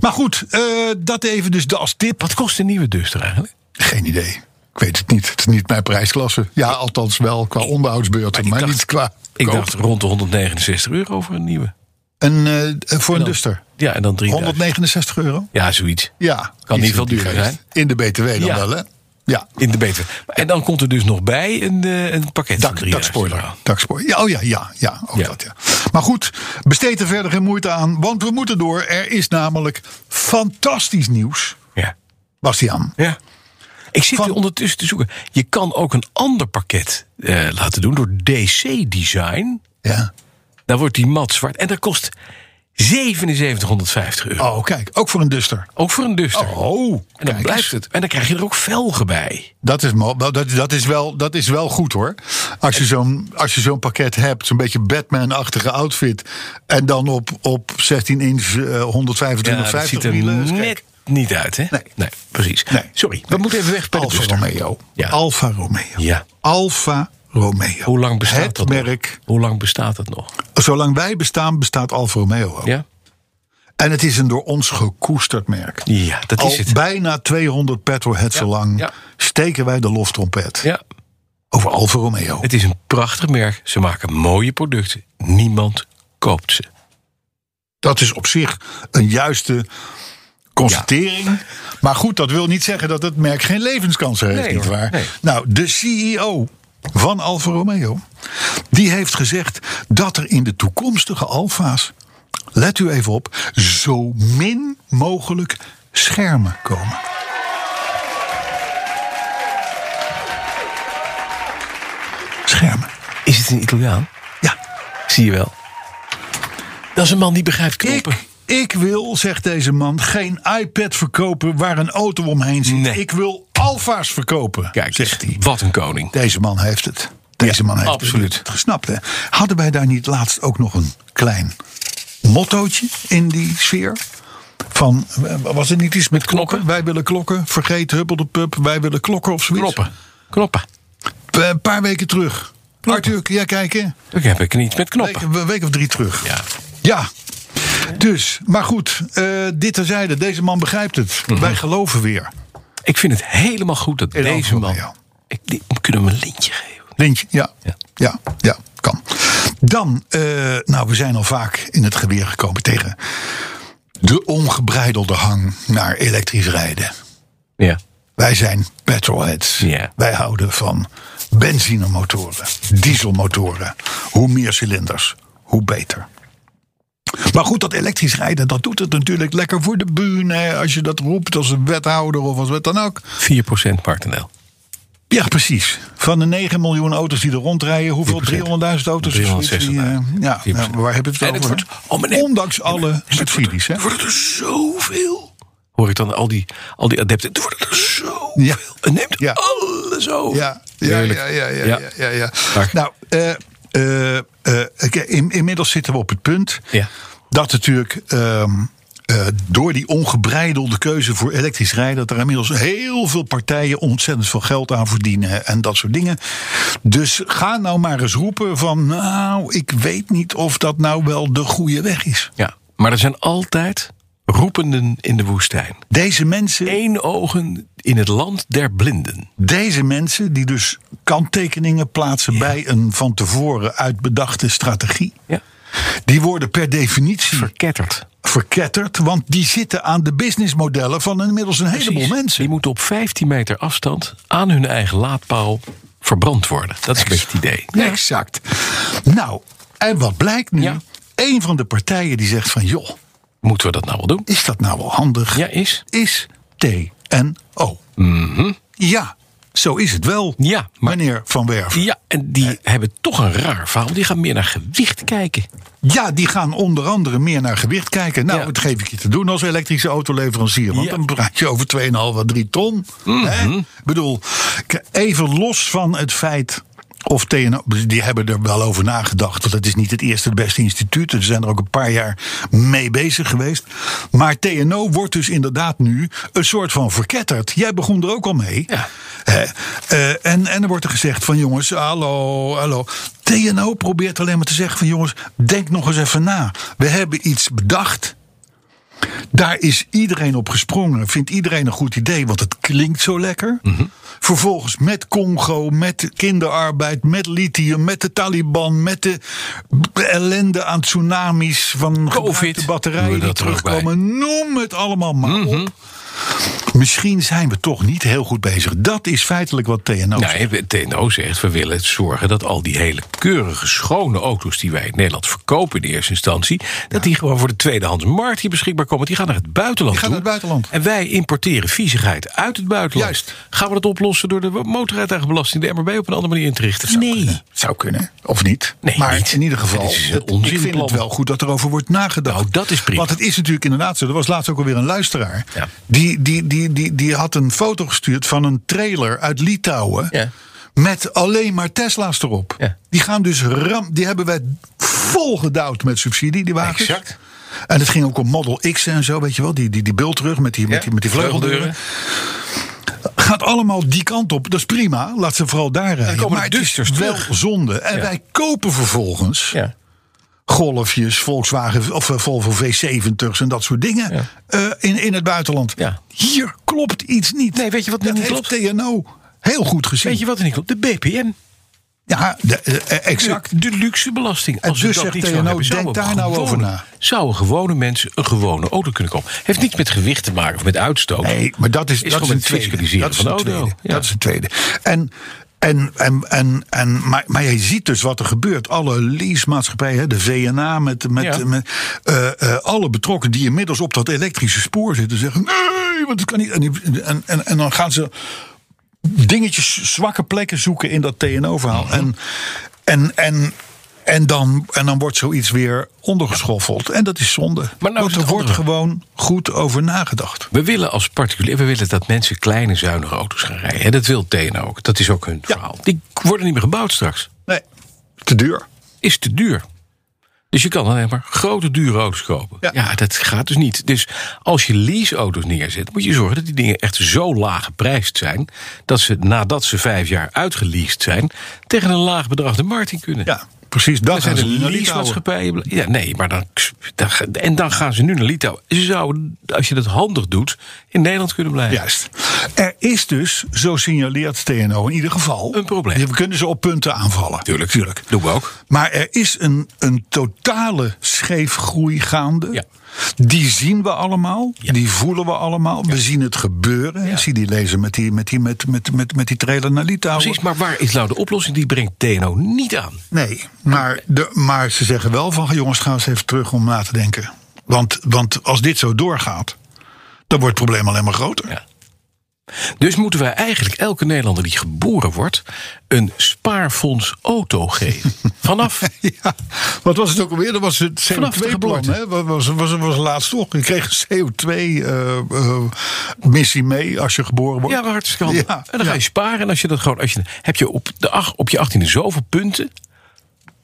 Speaker 2: Maar goed, eh, dat even dus de als tip.
Speaker 3: Wat kost een nieuwe Duster eigenlijk?
Speaker 2: Geen idee. Ik weet het niet. Het is niet mijn prijsklasse. Ja, althans wel qua onderhoudsbeurten,
Speaker 3: ik
Speaker 2: maar,
Speaker 3: dacht-
Speaker 2: niet qua.
Speaker 3: Ik
Speaker 2: koop.
Speaker 3: dacht rond de 169 euro voor een nieuwe.
Speaker 2: Een, eh, voor een Duster.
Speaker 3: Ja, en dan 3000.
Speaker 2: 169 euro.
Speaker 3: Ja, zoiets.
Speaker 2: Ja.
Speaker 3: Kan in
Speaker 2: iets
Speaker 3: ieder geval
Speaker 2: in die
Speaker 3: duurder
Speaker 2: geest.
Speaker 3: zijn.
Speaker 2: In de BTW dan
Speaker 3: Ja.
Speaker 2: wel, hè? Ja.
Speaker 3: In de beter. En dan komt er dus nog bij een, eh, een pakket van
Speaker 2: Dak,
Speaker 3: 3000
Speaker 2: dakspoiler.
Speaker 3: euro.
Speaker 2: Dakspoiler. Ja, oh ja, ja, ja, ook
Speaker 3: Ja.
Speaker 2: dat, ja. Maar goed, besteed er verder geen moeite aan, want we moeten door. Er is namelijk fantastisch nieuws,
Speaker 3: Ja.
Speaker 2: Bastiaan.
Speaker 3: ja. Ik zit
Speaker 2: Van-
Speaker 3: hier ondertussen te zoeken. Je kan ook een ander pakket eh, laten doen door DC Design.
Speaker 2: Ja.
Speaker 3: Dan wordt die mat zwart. En dat kost 7750 euro.
Speaker 2: Oh, kijk, ook voor een duster.
Speaker 3: Ook voor een duster.
Speaker 2: Oh,
Speaker 3: en dan
Speaker 2: kijk
Speaker 3: blijft
Speaker 2: eens.
Speaker 3: het. En dan krijg je er ook velgen bij.
Speaker 2: Dat is, mo- dat, dat, is wel, dat is wel goed hoor. Als je zo'n als je zo'n pakket hebt, zo'n beetje Batman-achtige outfit. En dan op, op 16 inch eh, 125,
Speaker 3: dat
Speaker 2: 50
Speaker 3: ziet er
Speaker 2: wielen. is gek.
Speaker 3: net niet uit, hè?
Speaker 2: Nee.
Speaker 3: precies.
Speaker 2: Nee.
Speaker 3: Sorry, we moeten even weg bij de
Speaker 2: Alfa
Speaker 3: duster.
Speaker 2: Romeo.
Speaker 3: Ja.
Speaker 2: Alfa Romeo.
Speaker 3: Ja.
Speaker 2: Alfa Romeo.
Speaker 3: Hoe lang bestaat
Speaker 2: het
Speaker 3: dat nog?
Speaker 2: merk?
Speaker 3: Hoe lang bestaat dat nog?
Speaker 2: Zolang wij bestaan, bestaat Alfa Romeo ook.
Speaker 3: Ja?
Speaker 2: En het is een door ons gekoesterd merk.
Speaker 3: Ja, dat
Speaker 2: Al
Speaker 3: is het.
Speaker 2: bijna 200 petrolheads zo lang
Speaker 3: ja.
Speaker 2: steken wij de loftrompet
Speaker 3: Ja,
Speaker 2: over Alfa Romeo.
Speaker 3: het is een prachtig merk. Ze maken mooie producten. Niemand koopt ze.
Speaker 2: Dat is op zich een juiste constatering. Maar goed, dat wil niet zeggen dat het merk geen levenskansen heeft,
Speaker 3: Nee, hoor.
Speaker 2: nietwaar?
Speaker 3: Nee.
Speaker 2: Nou, de CEO van Alfa Romeo, die heeft gezegd dat er in de toekomstige Alfa's, let u even op, zo min mogelijk schermen komen. Schermen,
Speaker 3: Is het een Italiaan?
Speaker 2: ja.
Speaker 3: Zie je wel. Dat is een man die begrijpt knoppen.
Speaker 2: Ik, ik wil, zegt deze man, geen iPad verkopen waar een auto omheen zit.
Speaker 3: Nee.
Speaker 2: Ik wil alfa's verkopen,
Speaker 3: Kijk,
Speaker 2: zegt hij.
Speaker 3: wat een koning.
Speaker 2: Deze man heeft het. Deze man heeft
Speaker 3: absoluut.
Speaker 2: het gesnapt. Hè? Hadden wij daar niet laatst ook nog een klein mottootje in die sfeer? Van, eh, was het niet iets met
Speaker 3: knoppen?
Speaker 2: knoppen? Wij willen klokken, vergeet hubbel de pub, wij willen klokken of zoiets.
Speaker 3: Knoppen. Knoppen.
Speaker 2: Eh, Een paar weken terug. Arthur, kun jij kijken?
Speaker 3: Ik heb ik niet met knoppen.
Speaker 2: Een week of drie terug.
Speaker 3: Ja.
Speaker 2: Ja. Dus, maar goed, eh, dit terzijde. Deze man begrijpt het. Wij geloven weer.
Speaker 3: Ik vind het helemaal goed dat
Speaker 2: In
Speaker 3: deze
Speaker 2: Alfa
Speaker 3: man...
Speaker 2: Romeo.
Speaker 3: Ik, die, kunnen we een lintje geven?
Speaker 2: Lintje, ja.
Speaker 3: Ja.
Speaker 2: Ja, ja, kan. Dan, eh, nou, we zijn al vaak in het geweer gekomen tegen de ongebreidelde hang naar elektrisch rijden.
Speaker 3: Ja.
Speaker 2: Wij zijn petrolheads.
Speaker 3: Ja.
Speaker 2: Wij houden van benzinemotoren, dieselmotoren. Hoe meer cilinders, hoe beter. Maar goed, dat elektrisch rijden, dat doet het natuurlijk lekker voor de bühne. hè, Als je dat roept als een wethouder of als wat dan ook.
Speaker 3: 4% martinaal.
Speaker 2: Ja, precies. Van de 9 miljoen auto's die er rondrijden, hoeveel? 300.000 auto's? of zoiets die, eh,
Speaker 3: 360.000.
Speaker 2: ja, nou, waar hebben we het over?
Speaker 3: En het wordt-
Speaker 2: hè?
Speaker 3: oh, meneer-
Speaker 2: Ondanks alle subsidies. Hè?
Speaker 3: Wordt er zoveel? Hoor ik dan al die, al die adepten. Er worden er zoveel.
Speaker 2: Ja.
Speaker 3: Het neemt
Speaker 2: Ja.
Speaker 3: alles over.
Speaker 2: Ja, ja,
Speaker 3: Heerlijk.
Speaker 2: ja, ja, ja,
Speaker 3: Ja.
Speaker 2: ja, ja, ja.
Speaker 3: Maar-
Speaker 2: Nou, eh, eh, eh, oké, in- inmiddels zitten we op het punt
Speaker 3: Ja.
Speaker 2: dat natuurlijk ehm, eh, door die ongebreidelde keuze voor elektrisch rijden, dat er inmiddels heel veel partijen ontzettend veel geld aan verdienen en dat soort dingen. Dus ga nou maar eens roepen van, nou, ik weet niet of dat nou wel de goede weg is.
Speaker 3: Ja. Maar er zijn altijd roependen in de woestijn.
Speaker 2: Deze mensen,
Speaker 3: Eén ogen in het land der blinden.
Speaker 2: deze mensen die dus kanttekeningen plaatsen bij een van tevoren uitbedachte strategie.
Speaker 3: Ja.
Speaker 2: Die worden per definitie
Speaker 3: Verketterd.
Speaker 2: verketterd, want die zitten aan de businessmodellen van inmiddels een heleboel mensen.
Speaker 3: Die moeten op 15 meter afstand aan hun eigen laadpaal verbrand worden. Dat is een beetje het idee.
Speaker 2: Exact. Nou, en wat blijkt nu?
Speaker 3: Ja.
Speaker 2: Een van de partijen die zegt van joh,
Speaker 3: Moeten we dat nou wel doen?
Speaker 2: is dat nou wel handig?
Speaker 3: Ja, is. Mhm.
Speaker 2: Is TNO. Ja, zo is het wel.
Speaker 3: Ja, maar-
Speaker 2: meneer Van Werven.
Speaker 3: Ja, en die hebben toch een raar verhaal. Die gaan meer naar gewicht kijken.
Speaker 2: Ja, die gaan onder andere meer naar gewicht kijken. Nou,
Speaker 3: Ja.
Speaker 2: dat geef ik je te doen als elektrische autoleverancier. Want
Speaker 3: Ja.
Speaker 2: dan praat je over 2,5 à 3 ton. hè? Ik bedoel, k- even los van het feit. Of TNO, die hebben er wel over nagedacht. Want het is niet het eerste, het beste instituut. Er zijn er ook een paar jaar mee bezig geweest. Maar TNO wordt dus inderdaad nu een soort van verketterd. Jij begon er ook al mee.
Speaker 3: Ja.
Speaker 2: Hè? Eh, en, en er wordt er gezegd van jongens, hallo, hallo. TNO probeert alleen maar te zeggen van jongens, denk nog eens even na. We hebben iets bedacht. Daar is iedereen op gesprongen. Vindt iedereen een goed idee, want het klinkt zo lekker.
Speaker 3: Mhm.
Speaker 2: Vervolgens met Congo, met kinderarbeid, met lithium, met de Taliban, met de b- ende aan tsunamis van gebruikte
Speaker 3: Doen
Speaker 2: batterijen
Speaker 3: we
Speaker 2: die
Speaker 3: dat er ook Mhm.
Speaker 2: terugkomen. Noem het allemaal maar op. Misschien zijn we toch niet heel goed bezig. Dat is feitelijk wat TNO zegt.
Speaker 3: Nee, TNO zegt, we willen zorgen dat al die hele keurige, schone auto's... die wij in Nederland verkopen in eerste instantie... dat die gewoon voor de tweedehands markt hier beschikbaar komen. Die gaan naar het buitenland
Speaker 2: Die gaan
Speaker 3: toe.
Speaker 2: naar het buitenland.
Speaker 3: En wij importeren viezigheid uit het buitenland.
Speaker 2: Juist.
Speaker 3: Gaan we dat oplossen door de motorrijtuigenbelasting... de MRB op een andere manier in te richten? Nee.
Speaker 2: Zou kunnen. Of niet.
Speaker 3: Nee,
Speaker 2: maar
Speaker 3: niet.
Speaker 2: in ieder geval,
Speaker 3: Het is een
Speaker 2: het- ik vind
Speaker 3: onzinplan.
Speaker 2: het wel goed dat erover wordt nagedacht.
Speaker 3: Nou, dat is prima.
Speaker 2: Want het is natuurlijk inderdaad zo. Er was laatst ook alweer een luisteraar.
Speaker 3: Ja.
Speaker 2: Die, die, die, die, die had een foto gestuurd van een trailer uit Litouwen.
Speaker 3: Ja.
Speaker 2: Met alleen maar Tesla's erop.
Speaker 3: Ja.
Speaker 2: Die gaan dus ram. Die hebben wij volgedouwd met subsidie, die wagens.
Speaker 3: Exact.
Speaker 2: En het ging ook om Model X en zo, weet je wel. Die, die, die bult terug met die, met die, met die vleugeldeuren gaat allemaal die kant op. Dat is prima. Laat ze vooral daar rijden.
Speaker 3: komen de
Speaker 2: maar het is dus
Speaker 3: Duitsers
Speaker 2: wel
Speaker 3: terug.
Speaker 2: zonde. En
Speaker 3: Ja.
Speaker 2: wij kopen vervolgens
Speaker 3: Ja.
Speaker 2: Golfjes, Volkswagen of eh, Volvo V70's en dat soort dingen
Speaker 3: Ja.
Speaker 2: eh, in, in het buitenland.
Speaker 3: Ja.
Speaker 2: Hier klopt iets niet.
Speaker 3: Nee, weet je wat nu
Speaker 2: dat
Speaker 3: niet
Speaker 2: heeft
Speaker 3: klopt?
Speaker 2: TNO heel goed gezien.
Speaker 3: Weet je wat er niet klopt? De BPM.
Speaker 2: ja, de- eh, eh, exact.
Speaker 3: De, de luxe belasting.
Speaker 2: En
Speaker 3: Als we
Speaker 2: dus
Speaker 3: dat
Speaker 2: zegt
Speaker 3: niet zouden
Speaker 2: TNO,
Speaker 3: hebben,
Speaker 2: denk
Speaker 3: zouden
Speaker 2: daar
Speaker 3: we
Speaker 2: nou over
Speaker 3: gewone-
Speaker 2: na.
Speaker 3: Zouden gewone mensen een gewone auto kunnen kopen? Heeft niets met gewicht te maken of met uitstoot.
Speaker 2: Nee, maar dat is,
Speaker 3: Is
Speaker 2: dat is
Speaker 3: gewoon
Speaker 2: een
Speaker 3: het
Speaker 2: tweede.
Speaker 3: fiscaliseren
Speaker 2: Dat is
Speaker 3: van
Speaker 2: een
Speaker 3: de
Speaker 2: tweede.
Speaker 3: auto. Ja.
Speaker 2: Dat is een tweede. En, en, en, en, en, maar, maar je ziet dus wat er gebeurt. Alle leasemaatschappijen, hè, de VNA, met, met,
Speaker 3: Ja.
Speaker 2: met, eh, eh, alle betrokken die inmiddels op dat elektrische spoor zitten, zeggen: nee, want het kan niet. En, die- en, en, en dan gaan ze dingetjes, zwakke plekken zoeken in dat TNO-verhaal.
Speaker 3: Mhm.
Speaker 2: En, en, en, en, dan, en dan wordt zoiets weer ondergeschoffeld. En dat is zonde.
Speaker 3: nou is
Speaker 2: Want
Speaker 3: het
Speaker 2: er wordt
Speaker 3: andere.
Speaker 2: gewoon goed over nagedacht.
Speaker 3: We willen als particulier, we willen dat mensen kleine zuinige auto's gaan rijden. hè. Dat wil TNO ook. Dat is ook hun verhaal. Die worden niet meer gebouwd straks.
Speaker 2: Nee, te duur.
Speaker 3: Is te duur. Dus je kan alleen maar grote, dure auto's kopen. Ja.
Speaker 2: Ja.
Speaker 3: dat gaat dus niet. Dus als je leaseauto's neerzet, moet je zorgen dat die dingen echt zo laag geprijsd zijn. dat ze nadat ze vijf jaar uitgeleased zijn. tegen een laag bedrag de markt in kunnen.
Speaker 2: Ja, precies.
Speaker 3: Dan
Speaker 2: Dat
Speaker 3: zijn
Speaker 2: gaan ze
Speaker 3: de
Speaker 2: nu naar Litouwen.
Speaker 3: leasemaatschappijen. bla- Ja, nee, maar dan, dan. ga- En dan gaan ze nu naar Litouwen. Ze zouden, als je dat handig doet, in Nederland kunnen blijven.
Speaker 2: Juist. Er is dus, zo signaleert TNO in ieder geval...
Speaker 3: Een probleem.
Speaker 2: We kunnen ze op punten aanvallen.
Speaker 3: Tuurlijk. Doen we ook.
Speaker 2: Maar er is een, een totale scheefgroei gaande.
Speaker 3: Ja.
Speaker 2: Die zien we allemaal.
Speaker 3: Ja.
Speaker 2: Die voelen we allemaal. We zien het gebeuren. Ik zie die lezer met die, met die, met, met, met, met die trailer naar Litouwen.
Speaker 3: Precies, maar waar is nou de oplossing? Die brengt TNO niet aan.
Speaker 2: Nee, maar, de, maar ze zeggen wel van jongens, ga eens even terug om na te denken. Want, want als dit zo doorgaat, dan wordt het probleem alleen maar groter.
Speaker 3: Ja. Dus moeten wij eigenlijk elke Nederlander die geboren wordt... een spaarfonds auto geven. Vanaf.
Speaker 2: Ja, wat was het ook alweer? Dat was het
Speaker 3: Vanaf de
Speaker 2: CO2-plan.
Speaker 3: geboorte.
Speaker 2: hè? Dat was, was, was laatst toch. Je kreeg een CO2-missie eh, mee als je geboren wordt.
Speaker 3: Ja, maar hartstikke handig.
Speaker 2: Ja,
Speaker 3: en dan ga je sparen. En als je dat gewoon... Als je, heb je op, de, ach- op je 18e zoveel punten...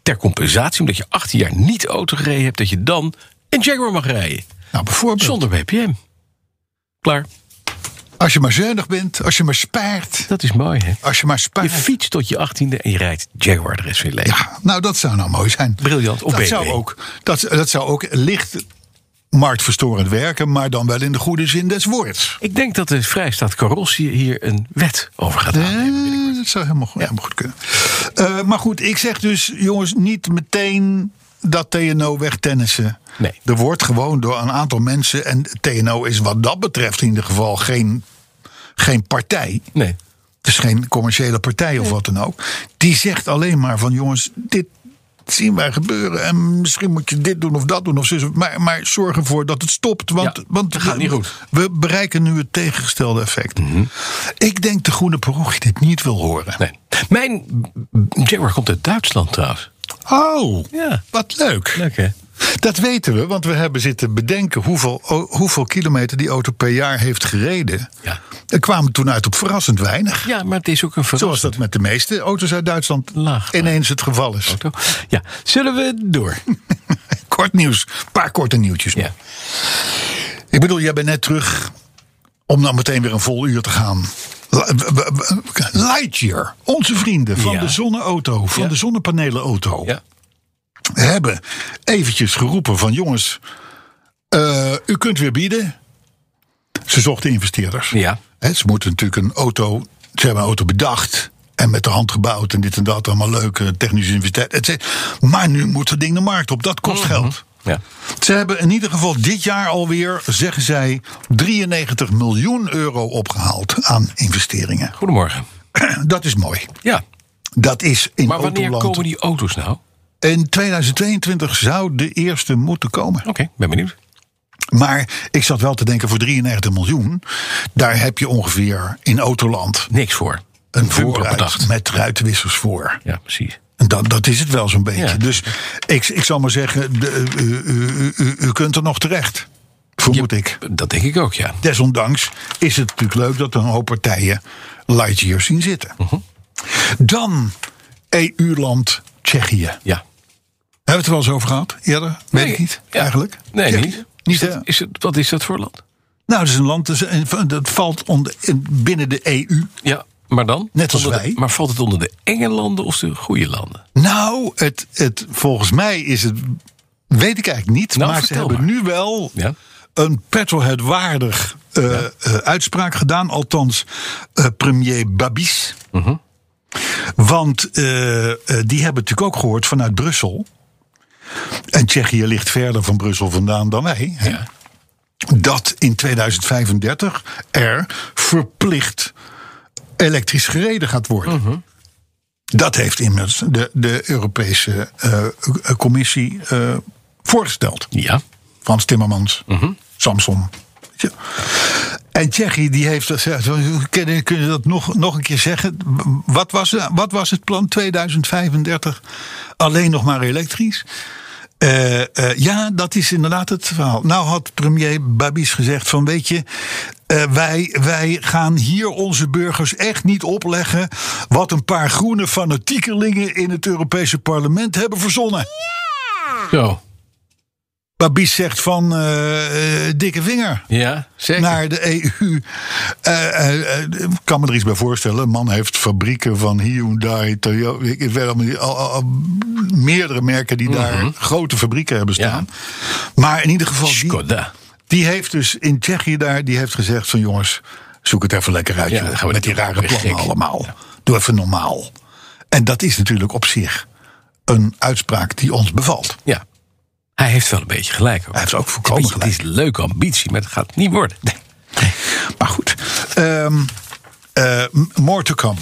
Speaker 3: ter compensatie, omdat je 18 jaar niet auto gereden hebt... dat je dan een Jaguar mag rijden.
Speaker 2: Nou, bijvoorbeeld.
Speaker 3: Zonder BPM. Klaar.
Speaker 2: Als je maar zuinig bent, als je maar spaart.
Speaker 3: Dat is mooi, hè?
Speaker 2: Als je maar
Speaker 3: Je
Speaker 2: spaart.
Speaker 3: fietst tot je 18e en je rijdt Jaguar de rest van je leven.
Speaker 2: Ja, nou, dat zou nou mooi zijn.
Speaker 3: Briljant, op
Speaker 2: dat
Speaker 3: BB.
Speaker 2: zou, ook, dat, dat zou ook licht marktverstorend werken, maar dan wel in de goede zin des woords.
Speaker 3: Ik denk dat de Vrijstaat Carrossie hier een wet over gaat
Speaker 2: Eh,
Speaker 3: aannemen.
Speaker 2: dat zou helemaal goed, helemaal goed kunnen. Eh, maar goed, ik zeg dus, jongens, niet meteen dat TNO wegtennissen.
Speaker 3: Nee.
Speaker 2: Er wordt gewoon door een aantal mensen, en TNO is wat dat betreft in ieder geval geen, geen partij.
Speaker 3: Nee.
Speaker 2: Het is geen commerciële partij of wat dan ook. Die zegt alleen maar van jongens, dit zien wij gebeuren. En misschien moet je dit doen of dat doen. Of zo, maar, maar zorg ervoor dat het stopt. Want,
Speaker 3: Ja,
Speaker 2: want
Speaker 3: het gaat
Speaker 2: we,
Speaker 3: niet goed. Mhm.
Speaker 2: we bereiken nu het tegengestelde effect. Ik denk de groene parochie dit niet wil horen.
Speaker 3: nee. Mijn Jaguar komt uit Duitsland trouwens.
Speaker 2: Oh,
Speaker 3: Ja.
Speaker 2: wat leuk.
Speaker 3: Leuk hè?
Speaker 2: Dat weten we, want we hebben zitten bedenken hoeveel, o- hoeveel kilometer die auto per jaar heeft gereden.
Speaker 3: Ja.
Speaker 2: Er kwamen toen uit op verrassend weinig.
Speaker 3: Ja, maar het is ook een
Speaker 2: Zoals
Speaker 3: verrassing.
Speaker 2: dat met de meeste auto's uit Duitsland
Speaker 3: Laag.
Speaker 2: ineens het geval is.
Speaker 3: Ja, zullen we door?
Speaker 2: Kort nieuws. Een paar korte nieuwtjes.
Speaker 3: Ja.
Speaker 2: Ik bedoel, jij bent net terug om dan meteen weer een vol uur te gaan. La- w- w- w- Lightyear, onze vrienden van
Speaker 3: Ja.
Speaker 2: de zonneauto, van
Speaker 3: Ja.
Speaker 2: de zonnepanelenauto,
Speaker 3: Ja.
Speaker 2: hebben eventjes geroepen van jongens, eh, u kunt weer bieden. Ze zochten investeerders.
Speaker 3: Ja.
Speaker 2: Hè, ze moeten natuurlijk een auto. Ze hebben een auto bedacht. En met de hand gebouwd en dit en dat. Allemaal leuke technische investeringen. et cetera. Maar nu moet het ding de markt op. Dat
Speaker 3: Mhm.
Speaker 2: kost geld.
Speaker 3: Ja.
Speaker 2: Ze hebben in ieder geval dit jaar alweer, zeggen zij, 93 miljoen euro opgehaald aan investeringen.
Speaker 3: Goedemorgen.
Speaker 2: Dat is mooi.
Speaker 3: Ja.
Speaker 2: Dat is in
Speaker 3: Maar wanneer
Speaker 2: Autoland.
Speaker 3: komen die auto's nou? Oké,
Speaker 2: In 2022 zou de eerste moeten komen.
Speaker 3: ben benieuwd.
Speaker 2: Maar ik zat wel te denken, voor 93 miljoen, daar heb je ongeveer in Autoland
Speaker 3: Niks voor.
Speaker 2: een
Speaker 3: bumper
Speaker 2: voorruit
Speaker 3: bedacht.
Speaker 2: met ruitwissers voor.
Speaker 3: Ja, precies.
Speaker 2: En Dat, dat is het wel zo'n beetje.
Speaker 3: Ja.
Speaker 2: Dus ik, ik zal maar zeggen, de- eh, u, u- eh, u- u kunt er nog terecht. Vermoed ik.
Speaker 3: Dat denk ik ook, ja.
Speaker 2: Desondanks is het natuurlijk leuk dat er een hoop partijen Lightyear zien zitten.
Speaker 3: Mhm.
Speaker 2: Dan EU-land Tsjechië. Hebben
Speaker 3: Ja.
Speaker 2: we het er wel eens over gehad eerder? Weet ik niet,
Speaker 3: Ja.
Speaker 2: eigenlijk.
Speaker 3: Nee,
Speaker 2: Tsjechië.
Speaker 3: niet. Is
Speaker 2: hè?
Speaker 3: dat, is het, wat is dat voor land?
Speaker 2: Nou, het is een land dat is een- dat valt onder, in- binnen de E EU.
Speaker 3: Ja, maar dan?
Speaker 2: Net als
Speaker 3: Onder de-
Speaker 2: wij.
Speaker 3: maar valt het onder de enge landen of de goede landen?
Speaker 2: Nou, het, het, volgens mij is het Weet ik eigenlijk niet.
Speaker 3: Nou,
Speaker 2: maar ze
Speaker 3: vertel
Speaker 2: hebben
Speaker 3: maar.
Speaker 2: nu wel
Speaker 3: Ja.
Speaker 2: een petrolhead-waardig eh, eh, uitspraak gedaan. Althans, eh, premier Babis. Want eh, eh, die hebben natuurlijk ook gehoord vanuit Brussel. En Tsjechië ligt verder van Brussel vandaan dan wij. hè. Dat in 2035 er verplicht elektrisch gereden gaat worden. Dat heeft immers de, de Europese eh, Commissie eh, voorgesteld.
Speaker 3: Ja.
Speaker 2: Frans Timmermans, Samson. Weet je. En Tsjechië die heeft dat. ja, zo- Kun kun je dat nog, nog een keer zeggen? Wat was, eh, wat was het plan 2035? Alleen nog maar elektrisch? Eh, eh, ja, dat is inderdaad het verhaal. Nou had premier Babis gezegd van weet je, eh, wij, wij gaan hier onze burgers echt niet opleggen wat een paar groene fanatiekelingen in het Europese parlement hebben verzonnen.
Speaker 3: Zo.
Speaker 2: Babis zegt van eh, eh, dikke vinger
Speaker 3: Ja, Nou, zeker.
Speaker 2: naar de EU. Eh, eh, eh, ik kan me er iets bij voorstellen. Een man heeft fabrieken van Hyundai, Toyota. Ik weet allemaal niet, al- al- al meerdere merken die
Speaker 3: Mhm.
Speaker 2: daar grote fabrieken hebben staan. Maar in ieder geval, Nou, die,
Speaker 3: Skoda.
Speaker 2: die heeft dus in Tsjechië daar, die heeft gezegd van jongens, zoek het even lekker uit.
Speaker 3: Ja,
Speaker 2: joh,
Speaker 3: dan gaan we
Speaker 2: met die
Speaker 3: niet
Speaker 2: rare
Speaker 3: weer
Speaker 2: plannen
Speaker 3: gek.
Speaker 2: allemaal. Doe even normaal. En dat is natuurlijk op zich een uitspraak die ons bevalt.
Speaker 3: Ja. Hij heeft wel een beetje gelijk. Ook.
Speaker 2: Hij heeft ook voorkomen
Speaker 3: Weet je, Het is een leuke ambitie, maar het gaat niet worden.
Speaker 2: Maar goed. Ehm eh, m- more to come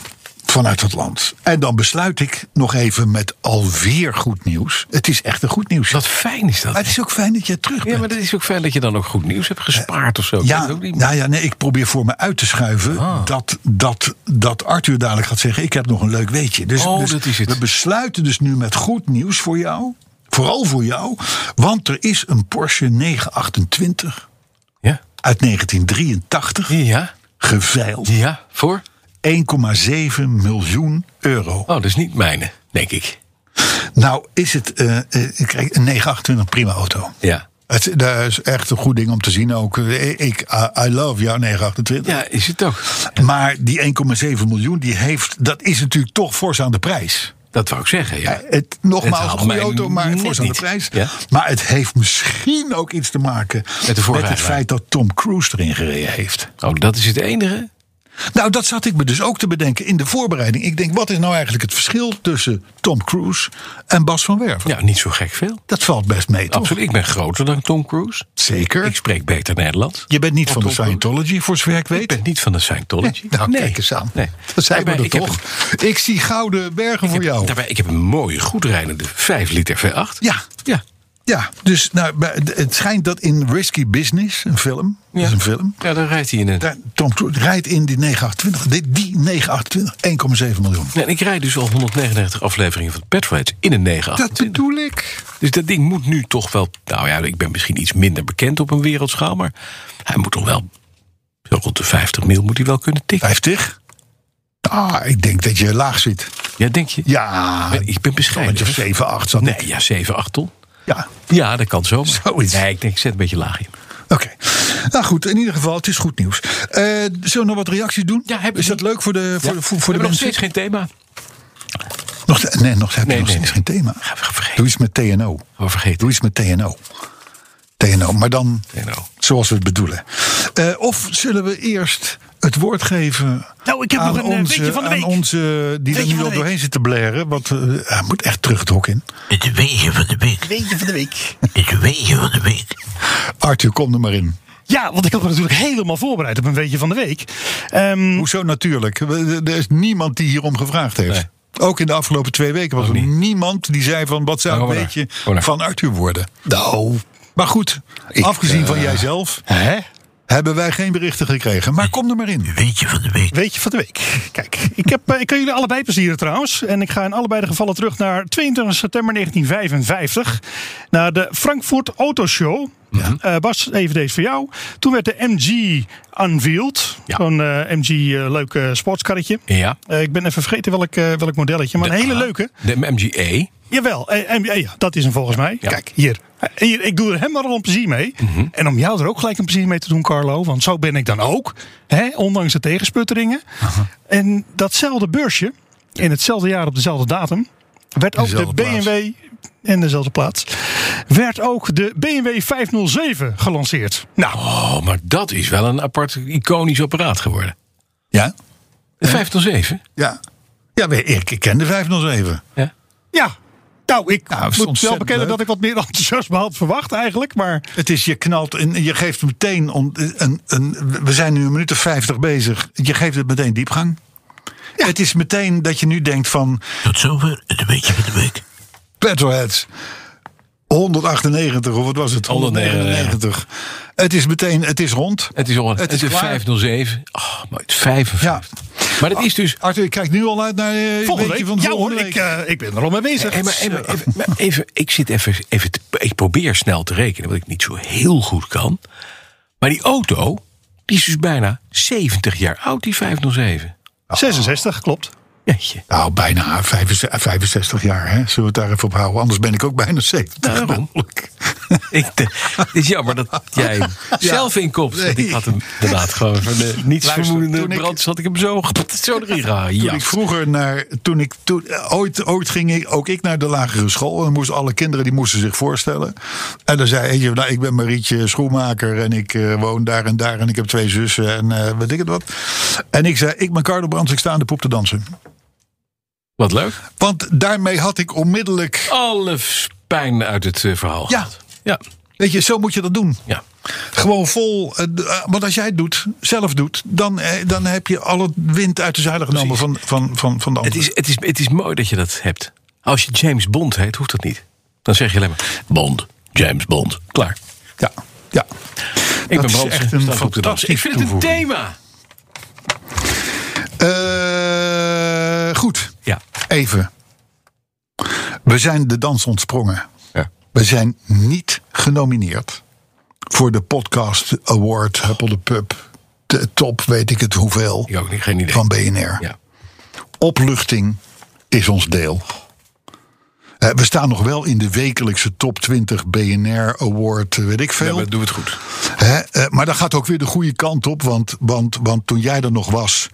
Speaker 2: vanuit het land. En dan besluit ik nog even met alweer goed nieuws. Het is echt een goed nieuws.
Speaker 3: Wat fijn is dat.
Speaker 2: maar het is ook fijn dat jij terug bent.
Speaker 3: Ja, maar het is ook fijn dat je dan ook goed nieuws hebt gespaard of zo. Ik weet
Speaker 2: Ja,
Speaker 3: het ook niet. Ah.
Speaker 2: nou ja, nee, ik probeer voor me uit te schuiven dat, dat, dat Arthur dadelijk gaat zeggen: Ik heb nog een leuk weetje. Dus,
Speaker 3: Oh,
Speaker 2: dus
Speaker 3: dat is het.
Speaker 2: we besluiten dus nu met goed nieuws voor jou. Vooral voor jou, want er is een Porsche 928
Speaker 3: Ja.
Speaker 2: uit 1983
Speaker 3: Ja.
Speaker 2: geveild.
Speaker 3: Ja. Voor?
Speaker 2: 1,7 miljoen euro.
Speaker 3: Oh, dat is niet mijne, denk ik.
Speaker 2: Nou, is het eh, eh, kijk, een 928 prima auto.
Speaker 3: Ja.
Speaker 2: Het, dat is echt een goed ding om te zien ook. Eh, Ik, I, I love jouw 928.
Speaker 3: Ja, is het ook.
Speaker 2: Maar die 1,7 miljoen, die heeft, dat is natuurlijk toch fors aan de prijs. Eh,
Speaker 3: Dat wou ik zeggen, ja.
Speaker 2: Het, nogmaals, een
Speaker 3: Het haalt
Speaker 2: goede
Speaker 3: mij
Speaker 2: auto, maar
Speaker 3: net
Speaker 2: fors aan de
Speaker 3: niet.
Speaker 2: prijs.
Speaker 3: Ja.
Speaker 2: Maar het heeft misschien ook iets te maken met het
Speaker 3: voorrijder.
Speaker 2: feit dat Tom Cruise erin gereden heeft.
Speaker 3: Oh, dat is het enige?
Speaker 2: Nou, dat zat ik me dus ook te bedenken in de voorbereiding. Ik denk, wat is nou eigenlijk het verschil tussen Tom Cruise en Bas van Werven?
Speaker 3: Ja, niet zo gek veel.
Speaker 2: Dat valt best mee, toch?
Speaker 3: Absoluut. Ik ben groter dan Tom Cruise.
Speaker 2: Zeker.
Speaker 3: Ik spreek beter Nederlands.
Speaker 2: Je bent niet van de Scientology, voor zover ik
Speaker 3: Ik
Speaker 2: weet.
Speaker 3: ben niet van de Scientology.
Speaker 2: Nou,
Speaker 3: Nee.
Speaker 2: kijk eens aan.
Speaker 3: Nee.
Speaker 2: Dat zijn we
Speaker 3: Daarbij,
Speaker 2: er
Speaker 3: ik heb
Speaker 2: toch. Ik zie gouden bergen voor
Speaker 3: Ik heb-
Speaker 2: Oh, jou.
Speaker 3: Daarbij, ik heb een mooie, goed rijdende 5 liter V8.
Speaker 2: Ja.
Speaker 3: Ja.
Speaker 2: Ja, dus nou, bij- het schijnt dat in Risky Business, een film, dat is
Speaker 3: Ja.
Speaker 2: een film.
Speaker 3: Ja, dan rijdt hij in een...
Speaker 2: Daar, Tom Cruise rijdt in die 928, die, die 928, 1,7 miljoen.
Speaker 3: Nou, en ik rijd dus al 199 afleveringen van de Petroheads in een 9
Speaker 2: Dat bedoel ik.
Speaker 3: Dus dat ding moet nu toch wel... Nou ja, ik ben misschien iets minder bekend op een wereldschaal... maar hij moet toch wel... Zo rond de 50 mil moet hij wel kunnen tikken.
Speaker 2: 50? Ah, ik denk dat je laag zit.
Speaker 3: Ja, denk je?
Speaker 2: Ja,
Speaker 4: Eh,
Speaker 3: Ik ben- Ik ben bescheiden.
Speaker 2: want je
Speaker 3: hè?
Speaker 2: 7, 8 zat ik.
Speaker 3: Nee, ja, 7, 8 ton.
Speaker 2: Ja,
Speaker 3: Ja, dat kan zomaar.
Speaker 2: Zoiets.
Speaker 3: Nee, ik denk, ik zet een beetje laag in.
Speaker 2: oké. Nou goed, in ieder geval, het is goed nieuws. Eh, zullen we nog wat reacties doen?
Speaker 3: Ja, hebben we
Speaker 2: is dat
Speaker 3: die?
Speaker 2: leuk voor de, voor,
Speaker 3: Ja.
Speaker 2: voor, voor de
Speaker 3: We hebben nog
Speaker 2: mensen?
Speaker 3: steeds geen thema.
Speaker 2: Nog, ste- nee, nog, heb je
Speaker 3: Nee,
Speaker 2: nog
Speaker 3: nee,
Speaker 2: steeds geen
Speaker 3: nee.
Speaker 2: thema.
Speaker 3: Gaan we vergeten.
Speaker 2: Doe iets met TNO.
Speaker 3: Oh, vergeten. nou?
Speaker 2: Doe iets met TNO. TNO, maar dan
Speaker 3: TNO.
Speaker 2: zoals we het bedoelen. Eh, of zullen we eerst het woord geven
Speaker 4: Nou, ik heb
Speaker 2: aan
Speaker 4: nog een, eh,
Speaker 2: onze,
Speaker 4: weetje van de
Speaker 2: aan
Speaker 4: week.
Speaker 2: onze die er
Speaker 4: Weetje
Speaker 2: nu
Speaker 4: van
Speaker 2: al
Speaker 4: de week.
Speaker 2: doorheen zit te blaren. Want eh, hij moet echt terug het hok in.
Speaker 7: Het wegen van de week.
Speaker 4: Weetje van de week.
Speaker 7: Het wegen van de week.
Speaker 2: Arthur, kom er maar in.
Speaker 4: Ja, want ik had me natuurlijk helemaal voorbereid op een weetje van de week. Ehm,
Speaker 2: Hoezo natuurlijk? We- Er is niemand die hierom gevraagd heeft. Ook in de afgelopen twee weken was er niemand die zei van wat zou
Speaker 3: Oh,
Speaker 2: een
Speaker 3: maar daar.
Speaker 2: beetje
Speaker 3: Oh, daar.
Speaker 2: van Arthur worden. Nou. Maar goed, afgezien van jijzelf
Speaker 4: hè?
Speaker 2: hebben wij geen berichten gekregen. Maar kom er maar in.
Speaker 7: Weetje van de week.
Speaker 4: Weetje van de week. Kijk, ik, heb, eh, ik kan jullie allebei plezieren trouwens. En ik ga in allebei de gevallen terug naar 22 september 1955. Naar de Frankfurt Autoshow. Eh, Bas, even deze voor jou. Toen werd de MG unveiled.
Speaker 3: Ja.
Speaker 4: Zo'n eh, MG eh, leuk eh, sportskarretje.
Speaker 3: Ja.
Speaker 4: Eh, ik ben even vergeten welk, eh, welk modelletje. Maar een hele leuke.
Speaker 3: De MGE.
Speaker 4: Jawel, eh, en- eh, ja, dat is hem volgens mij.
Speaker 3: Ja.
Speaker 4: Kijk, hier. Eh, hier. Ik doe er helemaal al een plezier mee.
Speaker 2: Mhm.
Speaker 4: En om jou er ook gelijk een plezier mee te doen, Carlo. Want zo ben ik dan ook. Hè, ondanks de tegensputteringen. En datzelfde beursje, in hetzelfde jaar op dezelfde datum... werd ook de
Speaker 2: Dezelfde
Speaker 4: BMW... en dezelfde plaats... werd ook de BMW 507 gelanceerd. Nou,
Speaker 3: Oh, maar dat is wel een apart iconisch apparaat geworden.
Speaker 2: Ja?
Speaker 3: De 507?
Speaker 2: Ja. Ja, maar ik, ik ken de 507.
Speaker 3: Ja.
Speaker 4: ja. Nou, ik
Speaker 2: Nou, het is
Speaker 4: moet wel
Speaker 2: ontzettend
Speaker 4: bekennen
Speaker 2: leuk.
Speaker 4: dat ik wat meer enthousiasme had verwacht eigenlijk. Maar
Speaker 2: Het is, je knalt en je geeft meteen. om- een, een, we zijn nu een minuut of 50 bezig. Je geeft het meteen diepgang. Het is meteen dat je nu denkt van.
Speaker 7: Tot zover het een beetje van de week.
Speaker 2: Petrolheads. 198 of wat was het? 199. Het is meteen, het is rond.
Speaker 3: Het is, on,
Speaker 2: Het
Speaker 3: het
Speaker 2: is
Speaker 3: is,
Speaker 2: klaar.
Speaker 3: 507. Oh, maar het is 55. Maar dat is dus...
Speaker 2: Arthur, ik kijk nu al uit naar eh, een
Speaker 4: volgende
Speaker 2: beetje
Speaker 4: week,
Speaker 2: van
Speaker 4: ja
Speaker 2: volgende
Speaker 4: hoor,
Speaker 2: week.
Speaker 4: ik, eh, ik ben er al mee bezig.
Speaker 3: Hey, maar, hey, maar even, maar even, ik zit even, even te- ik probeer snel te rekenen, wat ik niet zo heel goed kan. Maar die auto, die is dus bijna 70 jaar oud, die 507.
Speaker 4: 66, klopt.
Speaker 3: Jeetje.
Speaker 2: Nou, bijna 65, 65 jaar, hè? Zullen we het daar even op houden? Anders ben ik ook bijna 70.
Speaker 3: Daarom. Ik, eh, het is jammer dat jij hem zelf inkomt. want
Speaker 2: Nee.
Speaker 3: Ik had hem inderdaad gewoon van de
Speaker 2: toen
Speaker 3: nietsvermoedende
Speaker 2: ik-
Speaker 3: brand. Had ik hem zo, zo erin gehaald.
Speaker 2: Toen ik vroeger naar, toen ik, toen, eh, ooit, ooit ging ik, ook ik naar de lagere school. En dan moesten alle kinderen, die moesten zich voorstellen. En dan zei eentje, nou ik ben Marietje Schoenmaker en ik eh, woon daar en daar. En ik heb twee zussen en eh weet ik het wat. En ik zei, ik ben Carlo Brands, ik sta aan de poep te dansen.
Speaker 3: Wat leuk.
Speaker 2: Want daarmee had ik onmiddellijk,
Speaker 3: Alle pijn uit het eh, verhaal
Speaker 2: Ja.
Speaker 3: gehad. Ja.
Speaker 2: weet je, zo moet je dat doen.
Speaker 3: Ja.
Speaker 2: Gewoon vol, eh, d- eh, want als jij het doet, zelf doet, dan, eh, dan heb je alle wind uit de zeilen genomen van, van, van, van de
Speaker 3: Het,
Speaker 2: anderen.
Speaker 3: is, het, is, het is mooi dat je dat hebt. Als je James Bond heet, hoeft dat niet. Dan zeg je alleen maar Bond, James Bond. Klaar.
Speaker 2: Ja, ja.
Speaker 3: Ik ben
Speaker 2: is
Speaker 3: Bransen,
Speaker 2: echt een
Speaker 3: sta op de dans.
Speaker 2: fantastisch
Speaker 3: Ik vind het een
Speaker 2: toevoeging.
Speaker 3: thema.
Speaker 2: Eh, goed.
Speaker 3: Ja.
Speaker 2: Even. We zijn de dans ontsprongen.
Speaker 3: Ja.
Speaker 2: We zijn niet genomineerd voor de podcast award Huppel de Pub. De top weet ik het hoeveel
Speaker 3: Ik ook niet, geen idee.
Speaker 2: van BNR.
Speaker 3: Ja.
Speaker 2: Opluchting is ons deel. Eh, We staan nog wel in de wekelijkse top 20 BNR Award, eh, weet ik
Speaker 3: ja,
Speaker 2: veel.
Speaker 3: maar doen we het goed.
Speaker 2: Hè, eh, maar dat gaat ook weer de goede kant op. Want, want, want toen jij er nog was,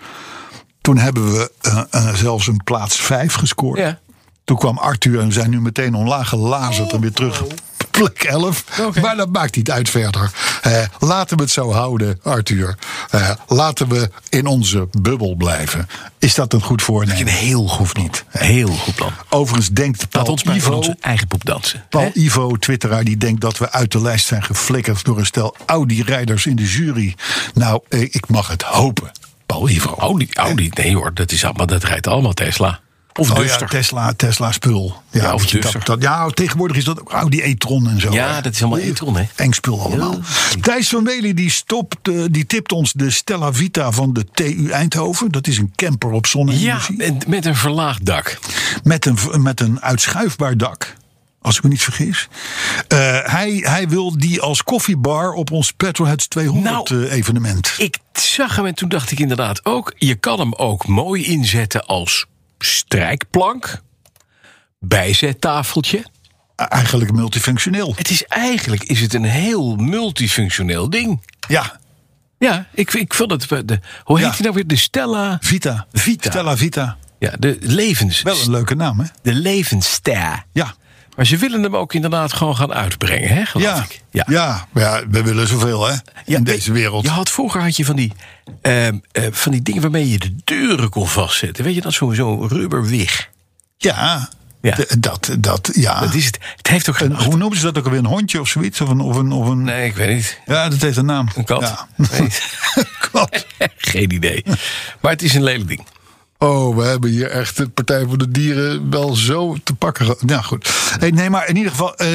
Speaker 2: toen hebben we eh, eh, zelfs een plaats 5 gescoord.
Speaker 3: Ja.
Speaker 2: Toen kwam Arthur en we zijn nu meteen onlaag gelazerd en weer terug. op Plek 11. Maar dat maakt niet uit verder. Eh, laten we het zo houden, Arthur. Eh, laten we in onze bubbel blijven. Is dat een goed voornemen?
Speaker 3: heel goed
Speaker 2: niet.
Speaker 3: Heel goed plan.
Speaker 2: Overigens denkt Paul
Speaker 3: Laat ons maar van
Speaker 2: Ivo-
Speaker 3: onze eigen poep dansen.
Speaker 2: Paul
Speaker 3: Hè?
Speaker 2: Ivo, twitteraar, die denkt dat we uit de lijst zijn geflikkerd... door een stel Audi-rijders in de jury. Nou, eh, ik mag het hopen,
Speaker 3: Oh,
Speaker 2: Paul Ivo.
Speaker 3: Audi, Audi, nee hoor, dat, is allemaal, dat rijdt allemaal Tesla. Of dus
Speaker 2: Oh ja,
Speaker 3: Duster.
Speaker 2: Tesla, Tesla spul. Ja,
Speaker 3: Ja, of
Speaker 2: weet je, dat,
Speaker 3: Duster.
Speaker 2: dat- ja, tegenwoordig is dat ook Audi e-tron en zo.
Speaker 3: Ja,
Speaker 2: hè.
Speaker 3: dat is allemaal e-tron, hè?
Speaker 2: Eng spul allemaal. Thijs van Meli die, stopt, eh, die tipt ons de Stella Vita van de TU Eindhoven. Dat is een camper op
Speaker 3: ja,
Speaker 2: zonne-energie.
Speaker 3: met- met een verlaagd dak.
Speaker 2: Met een, met een uitschuifbaar dak. Als ik me niet vergis. Eh, hij, hij wil die als koffiebar op ons Petrolheads 200
Speaker 3: Nou.
Speaker 2: eh, evenement.
Speaker 3: Ik zag hem en toen dacht ik inderdaad ook... je kan hem ook mooi inzetten als strijkplank, bijzettafeltje.
Speaker 2: Eigenlijk multifunctioneel.
Speaker 3: Het is eigenlijk is het een heel multifunctioneel ding.
Speaker 2: Ja,
Speaker 3: Ja, ik, ik vond het... eh, De, hoe heet
Speaker 2: Ja.
Speaker 3: die nou weer? De Stella...
Speaker 2: Vita.
Speaker 3: Vita.
Speaker 2: Stella Vita.
Speaker 3: Ja, de levens...
Speaker 2: Wel een leuke naam, hè?
Speaker 3: De levensster.
Speaker 2: Ja.
Speaker 3: Maar ze willen hem ook inderdaad gewoon gaan uitbrengen, hè? geloof
Speaker 2: Ja.
Speaker 3: ik.
Speaker 2: Ja. ja, maar ja, we willen zoveel, hè?
Speaker 3: Ja,
Speaker 2: in deze wereld.
Speaker 3: Je had vroeger had je van die, ehm, eh, van die dingen waarmee je de deuren kon vastzetten. Weet je dat? Zo'n zo'n rubberwig.
Speaker 2: Ja,
Speaker 3: Ja.
Speaker 2: D- dat, dat, ja.
Speaker 3: Dat is het. Het heeft ook
Speaker 2: Ah. Een-
Speaker 3: geen.
Speaker 2: hoe noemen ze dat ook alweer? Een hondje of zoiets? Of een, of een, of een...
Speaker 3: Nee, ik weet niet.
Speaker 2: Ja, dat heeft een naam.
Speaker 3: Een kat?
Speaker 2: Ja.
Speaker 3: Nee.
Speaker 2: kat.
Speaker 3: geen idee. Maar het is een lelijk ding.
Speaker 2: Oh, we hebben hier echt de Partij voor de Dieren wel zo te pakken. ge- Nou goed. Hey, nee, maar in ieder geval, eh,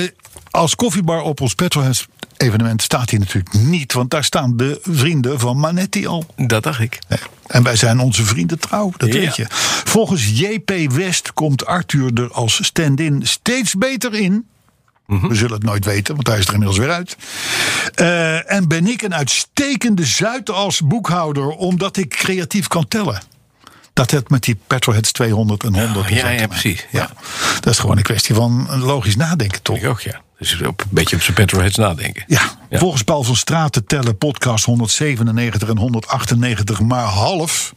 Speaker 2: als koffiebar op ons Petrolheads evenement staat hij natuurlijk niet. Want daar staan de vrienden van Manetti al.
Speaker 3: Dat dacht ik.
Speaker 2: Nee. En wij zijn onze vrienden trouw, dat
Speaker 3: Ja.
Speaker 2: weet je. Volgens JP West komt Arthur er als stand-in steeds beter in.
Speaker 3: Mhm.
Speaker 2: We zullen het nooit weten, want hij is er inmiddels weer uit. Eh, en ben ik een uitstekende Zuidas boekhouder, omdat ik creatief kan tellen. Dat het met die Petrolheads 200 en 100.
Speaker 3: ja,
Speaker 2: is dat
Speaker 3: ja,
Speaker 2: te maken.
Speaker 3: precies,
Speaker 2: Ja. Dat is gewoon een kwestie van logisch nadenken, toch?
Speaker 3: Ik ook, ja. Dus op, een beetje op zijn petrolheads nadenken.
Speaker 2: Ja, volgens Paul van Straten tellen podcast 197 en 198 maar half,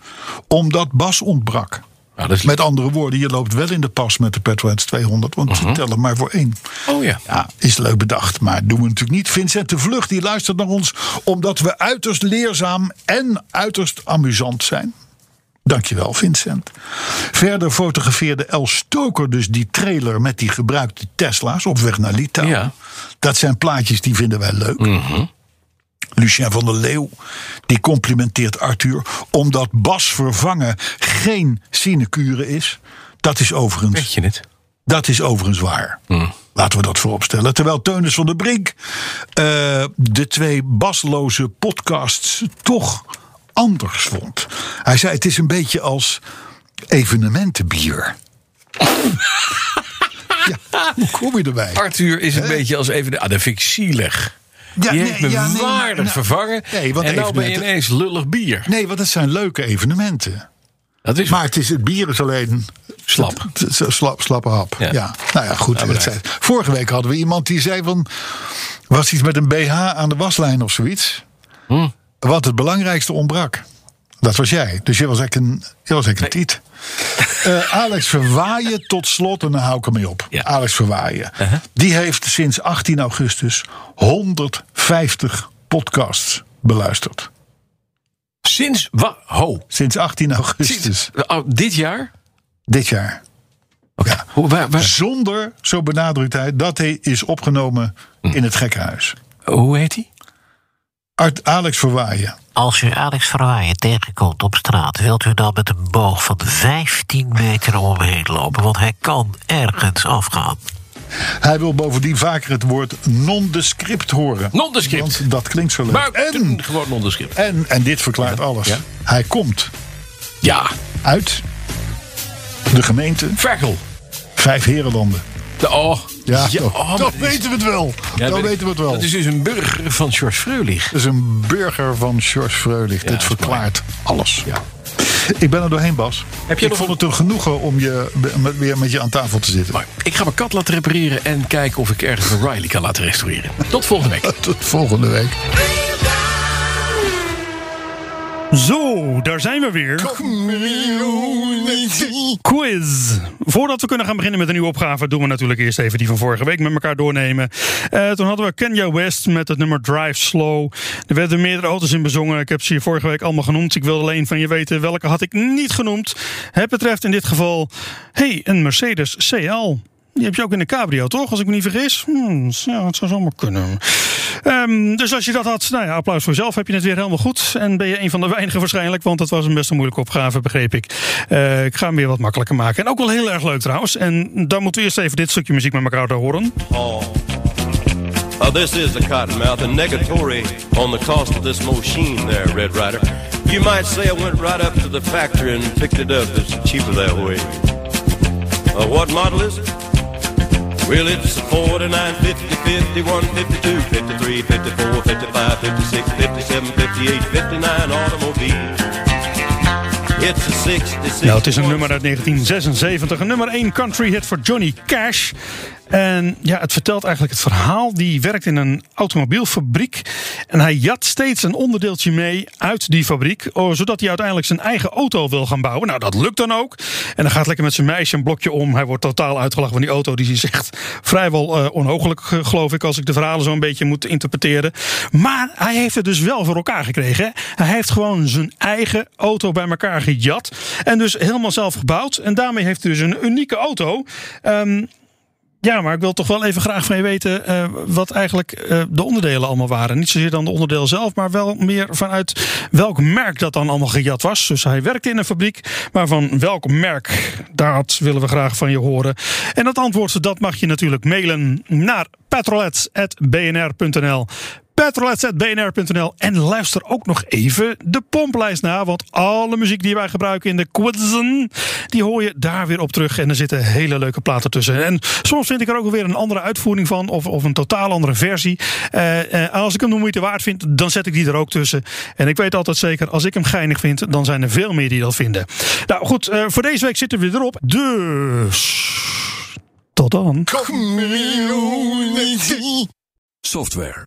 Speaker 2: omdat Bas ontbrak.
Speaker 3: Nou, dat is
Speaker 2: Met andere woorden, je loopt wel in de pas met de Petroheads 200, want
Speaker 3: Uh-huh.
Speaker 2: ze tellen maar voor één.
Speaker 3: Oh ja.
Speaker 2: Ja, is leuk bedacht, maar doen we natuurlijk niet. Vincent de Vlucht die luistert naar ons omdat we uiterst leerzaam en uiterst amusant zijn. Dankjewel, Vincent. Verder fotografeerde El Stoker dus die trailer met die gebruikte Tesla's op weg naar Litouwen.
Speaker 3: Ja.
Speaker 2: Dat zijn plaatjes die vinden wij leuk. Lucien van der Leeuw, die complimenteert Arthur omdat Bas vervangen geen sinecure is. Dat is overigens
Speaker 3: Weet je het?
Speaker 2: dat is overigens waar.
Speaker 3: Hmm.
Speaker 2: Laten we dat vooropstellen. Terwijl Teunis van der Brink eh, de twee basloze podcasts toch anders vond. Hij zei: Het is een beetje als evenementenbier. ja, hoe kom je erbij?
Speaker 3: Arthur is een beetje als even... Ah, dat vind ik zielig.
Speaker 2: Ja,
Speaker 3: Die
Speaker 2: nee,
Speaker 3: heeft me
Speaker 2: ja, nee, maar-
Speaker 3: waardig
Speaker 2: nou,
Speaker 3: vervangen.
Speaker 2: nee, want
Speaker 3: en nou ben je
Speaker 2: evenementen-
Speaker 3: ineens lullig bier.
Speaker 2: Nee, want het zijn leuke evenementen.
Speaker 3: Dat is
Speaker 2: Maar het, is, het bier is alleen.
Speaker 3: Slap.
Speaker 2: Het- het- het- slap slappe hap. Ja.
Speaker 3: Ja.
Speaker 2: Nou ja, goed. dat zei- vorige week hadden we iemand die zei van. was iets met een BH aan de waslijn of zoiets. Hm. Wat het belangrijkste ontbrak. Dat was jij. Dus jij was echt een, jij was echt een tiet. Eh, Alex Verwaaien tot slot, en dan hou ik ermee op.
Speaker 3: Ja.
Speaker 2: Alex Verwaaien. Die heeft sinds 18 augustus 150 podcasts beluisterd.
Speaker 3: sinds... Wa, ho.
Speaker 2: Sinds 18 augustus
Speaker 3: Sinds, oh, dit jaar?
Speaker 2: dit jaar. Ja.
Speaker 3: Hoe, waar, waar,
Speaker 2: Zonder, zo benadrukt hij, dat hij is opgenomen in het gekkenhuis.
Speaker 3: hoe heet hij?
Speaker 2: Art Alex Verwaaien.
Speaker 7: Als u Alex Verwaaien tegenkomt op straat, wilt u dan met een boog van 15 meter omheen lopen, want hij kan ergens afgaan.
Speaker 2: Hij wil bovendien vaker het woord nondescript horen.
Speaker 3: Nondescript.
Speaker 2: Want dat klinkt zo leuk.
Speaker 3: Maar
Speaker 2: en,
Speaker 3: gewoon een onderschrift.
Speaker 2: en, en dit verklaart alles.
Speaker 3: ja.
Speaker 2: Hij komt
Speaker 3: Ja,
Speaker 2: uit de gemeente
Speaker 3: Vergel.
Speaker 2: Vijf Herenlanden.
Speaker 3: De, oh,
Speaker 2: Ja, toch.
Speaker 3: oh,
Speaker 2: dan
Speaker 3: maar dat is-
Speaker 2: weten we het wel.
Speaker 3: Ja,
Speaker 2: dan
Speaker 3: weet ik.
Speaker 2: weten we het wel.
Speaker 3: Dat is dus een burger van George Freulich.
Speaker 2: Dat is een burger van George Freulich. Dit
Speaker 3: dat is
Speaker 2: verklaart alles. Ik ben er doorheen, Bas.
Speaker 3: Heb je
Speaker 2: ik
Speaker 3: nog
Speaker 2: vond
Speaker 3: een-
Speaker 2: het een genoegen om je, be- met- weer met je aan tafel te zitten.
Speaker 3: Maar ik ga mijn kat laten repareren en kijken of ik ergens een Riley kan laten restaureren. Tot volgende week.
Speaker 2: Tot volgende week.
Speaker 4: Zo, daar zijn we weer. Quiz. Voordat we kunnen gaan beginnen met een nieuwe opgave, doen we natuurlijk eerst even die van vorige week met elkaar doornemen. Eh, toen hadden we Kenya West met het nummer Drive Slow. Er werden meerdere auto's in bezongen. Ik heb ze hier vorige week allemaal genoemd. Ik wilde alleen van je weten welke had ik niet genoemd. Het betreft in dit geval, hey, een Mercedes CL. Die heb je ook in de cabrio, toch? Als ik me niet vergis. Hmm, ja, het zou zomaar kunnen. Ehm, dus als je dat had, nou ja, applaus voor jezelf. Heb je het weer helemaal goed. En ben je een van de weinigen waarschijnlijk, want dat was een best een moeilijke opgave, begreep ik. Eh, ik ga hem weer wat makkelijker maken. En ook wel heel erg leuk trouwens. En dan moeten we eerst even dit stukje muziek met elkaar laten horen.
Speaker 8: Uh, this is the Cottonmouth, and negatory on the cost of this machine there, Red Rider. You might say I went right up to the factory and picked it up. It's cheaper that way. Uh, what model is it? Well, it's a 49, 50, 51, 52, 53, 54, 55, 56, 57, 58, 59 automobile. It's a 66.
Speaker 4: Nou, het is een nummer uit 1976. Een nummer 1 country hit voor Johnny Cash. En ja, het vertelt eigenlijk het verhaal. Die werkt in een automobielfabriek. En hij jat steeds een onderdeeltje mee uit die fabriek. oh, Zodat hij uiteindelijk zijn eigen auto wil gaan bouwen. Nou, dat lukt dan ook. En dan gaat lekker met zijn meisje een blokje om. Hij wordt totaal uitgelachen van die auto. Die is echt vrijwel eh onhoogelijk, eh, geloof ik. Als ik de verhalen zo een beetje moet interpreteren. Maar hij heeft het dus wel voor elkaar gekregen. hè. Hij heeft gewoon zijn eigen auto bij elkaar gejat. En dus helemaal zelf gebouwd. En daarmee heeft hij dus een unieke auto. Ehm, ja, maar ik wil toch wel even graag van je weten eh, wat eigenlijk eh, de onderdelen allemaal waren. Niet zozeer dan de onderdeel zelf, maar wel meer vanuit welk merk dat dan allemaal gejat was. Dus hij werkte in een fabriek, maar van welk merk, dat willen we graag van je horen. En dat antwoord, dat mag je natuurlijk mailen naar petrolets.bnr.nl petrolets.bnr.nl en luister ook nog even de pomplijst na, want alle muziek die wij gebruiken in de quizzen, die hoor je daar weer op terug en er zitten hele leuke platen tussen. En soms vind ik er ook weer een andere uitvoering van of, of een totaal andere versie. Eh, eh, als ik hem de moeite waard vind, dan zet ik die er ook tussen. En ik weet altijd zeker, als ik hem geinig vind, dan zijn er veel meer die dat vinden. Nou goed, eh, voor deze week zitten we weer erop. Dus, tot dan.
Speaker 9: Software.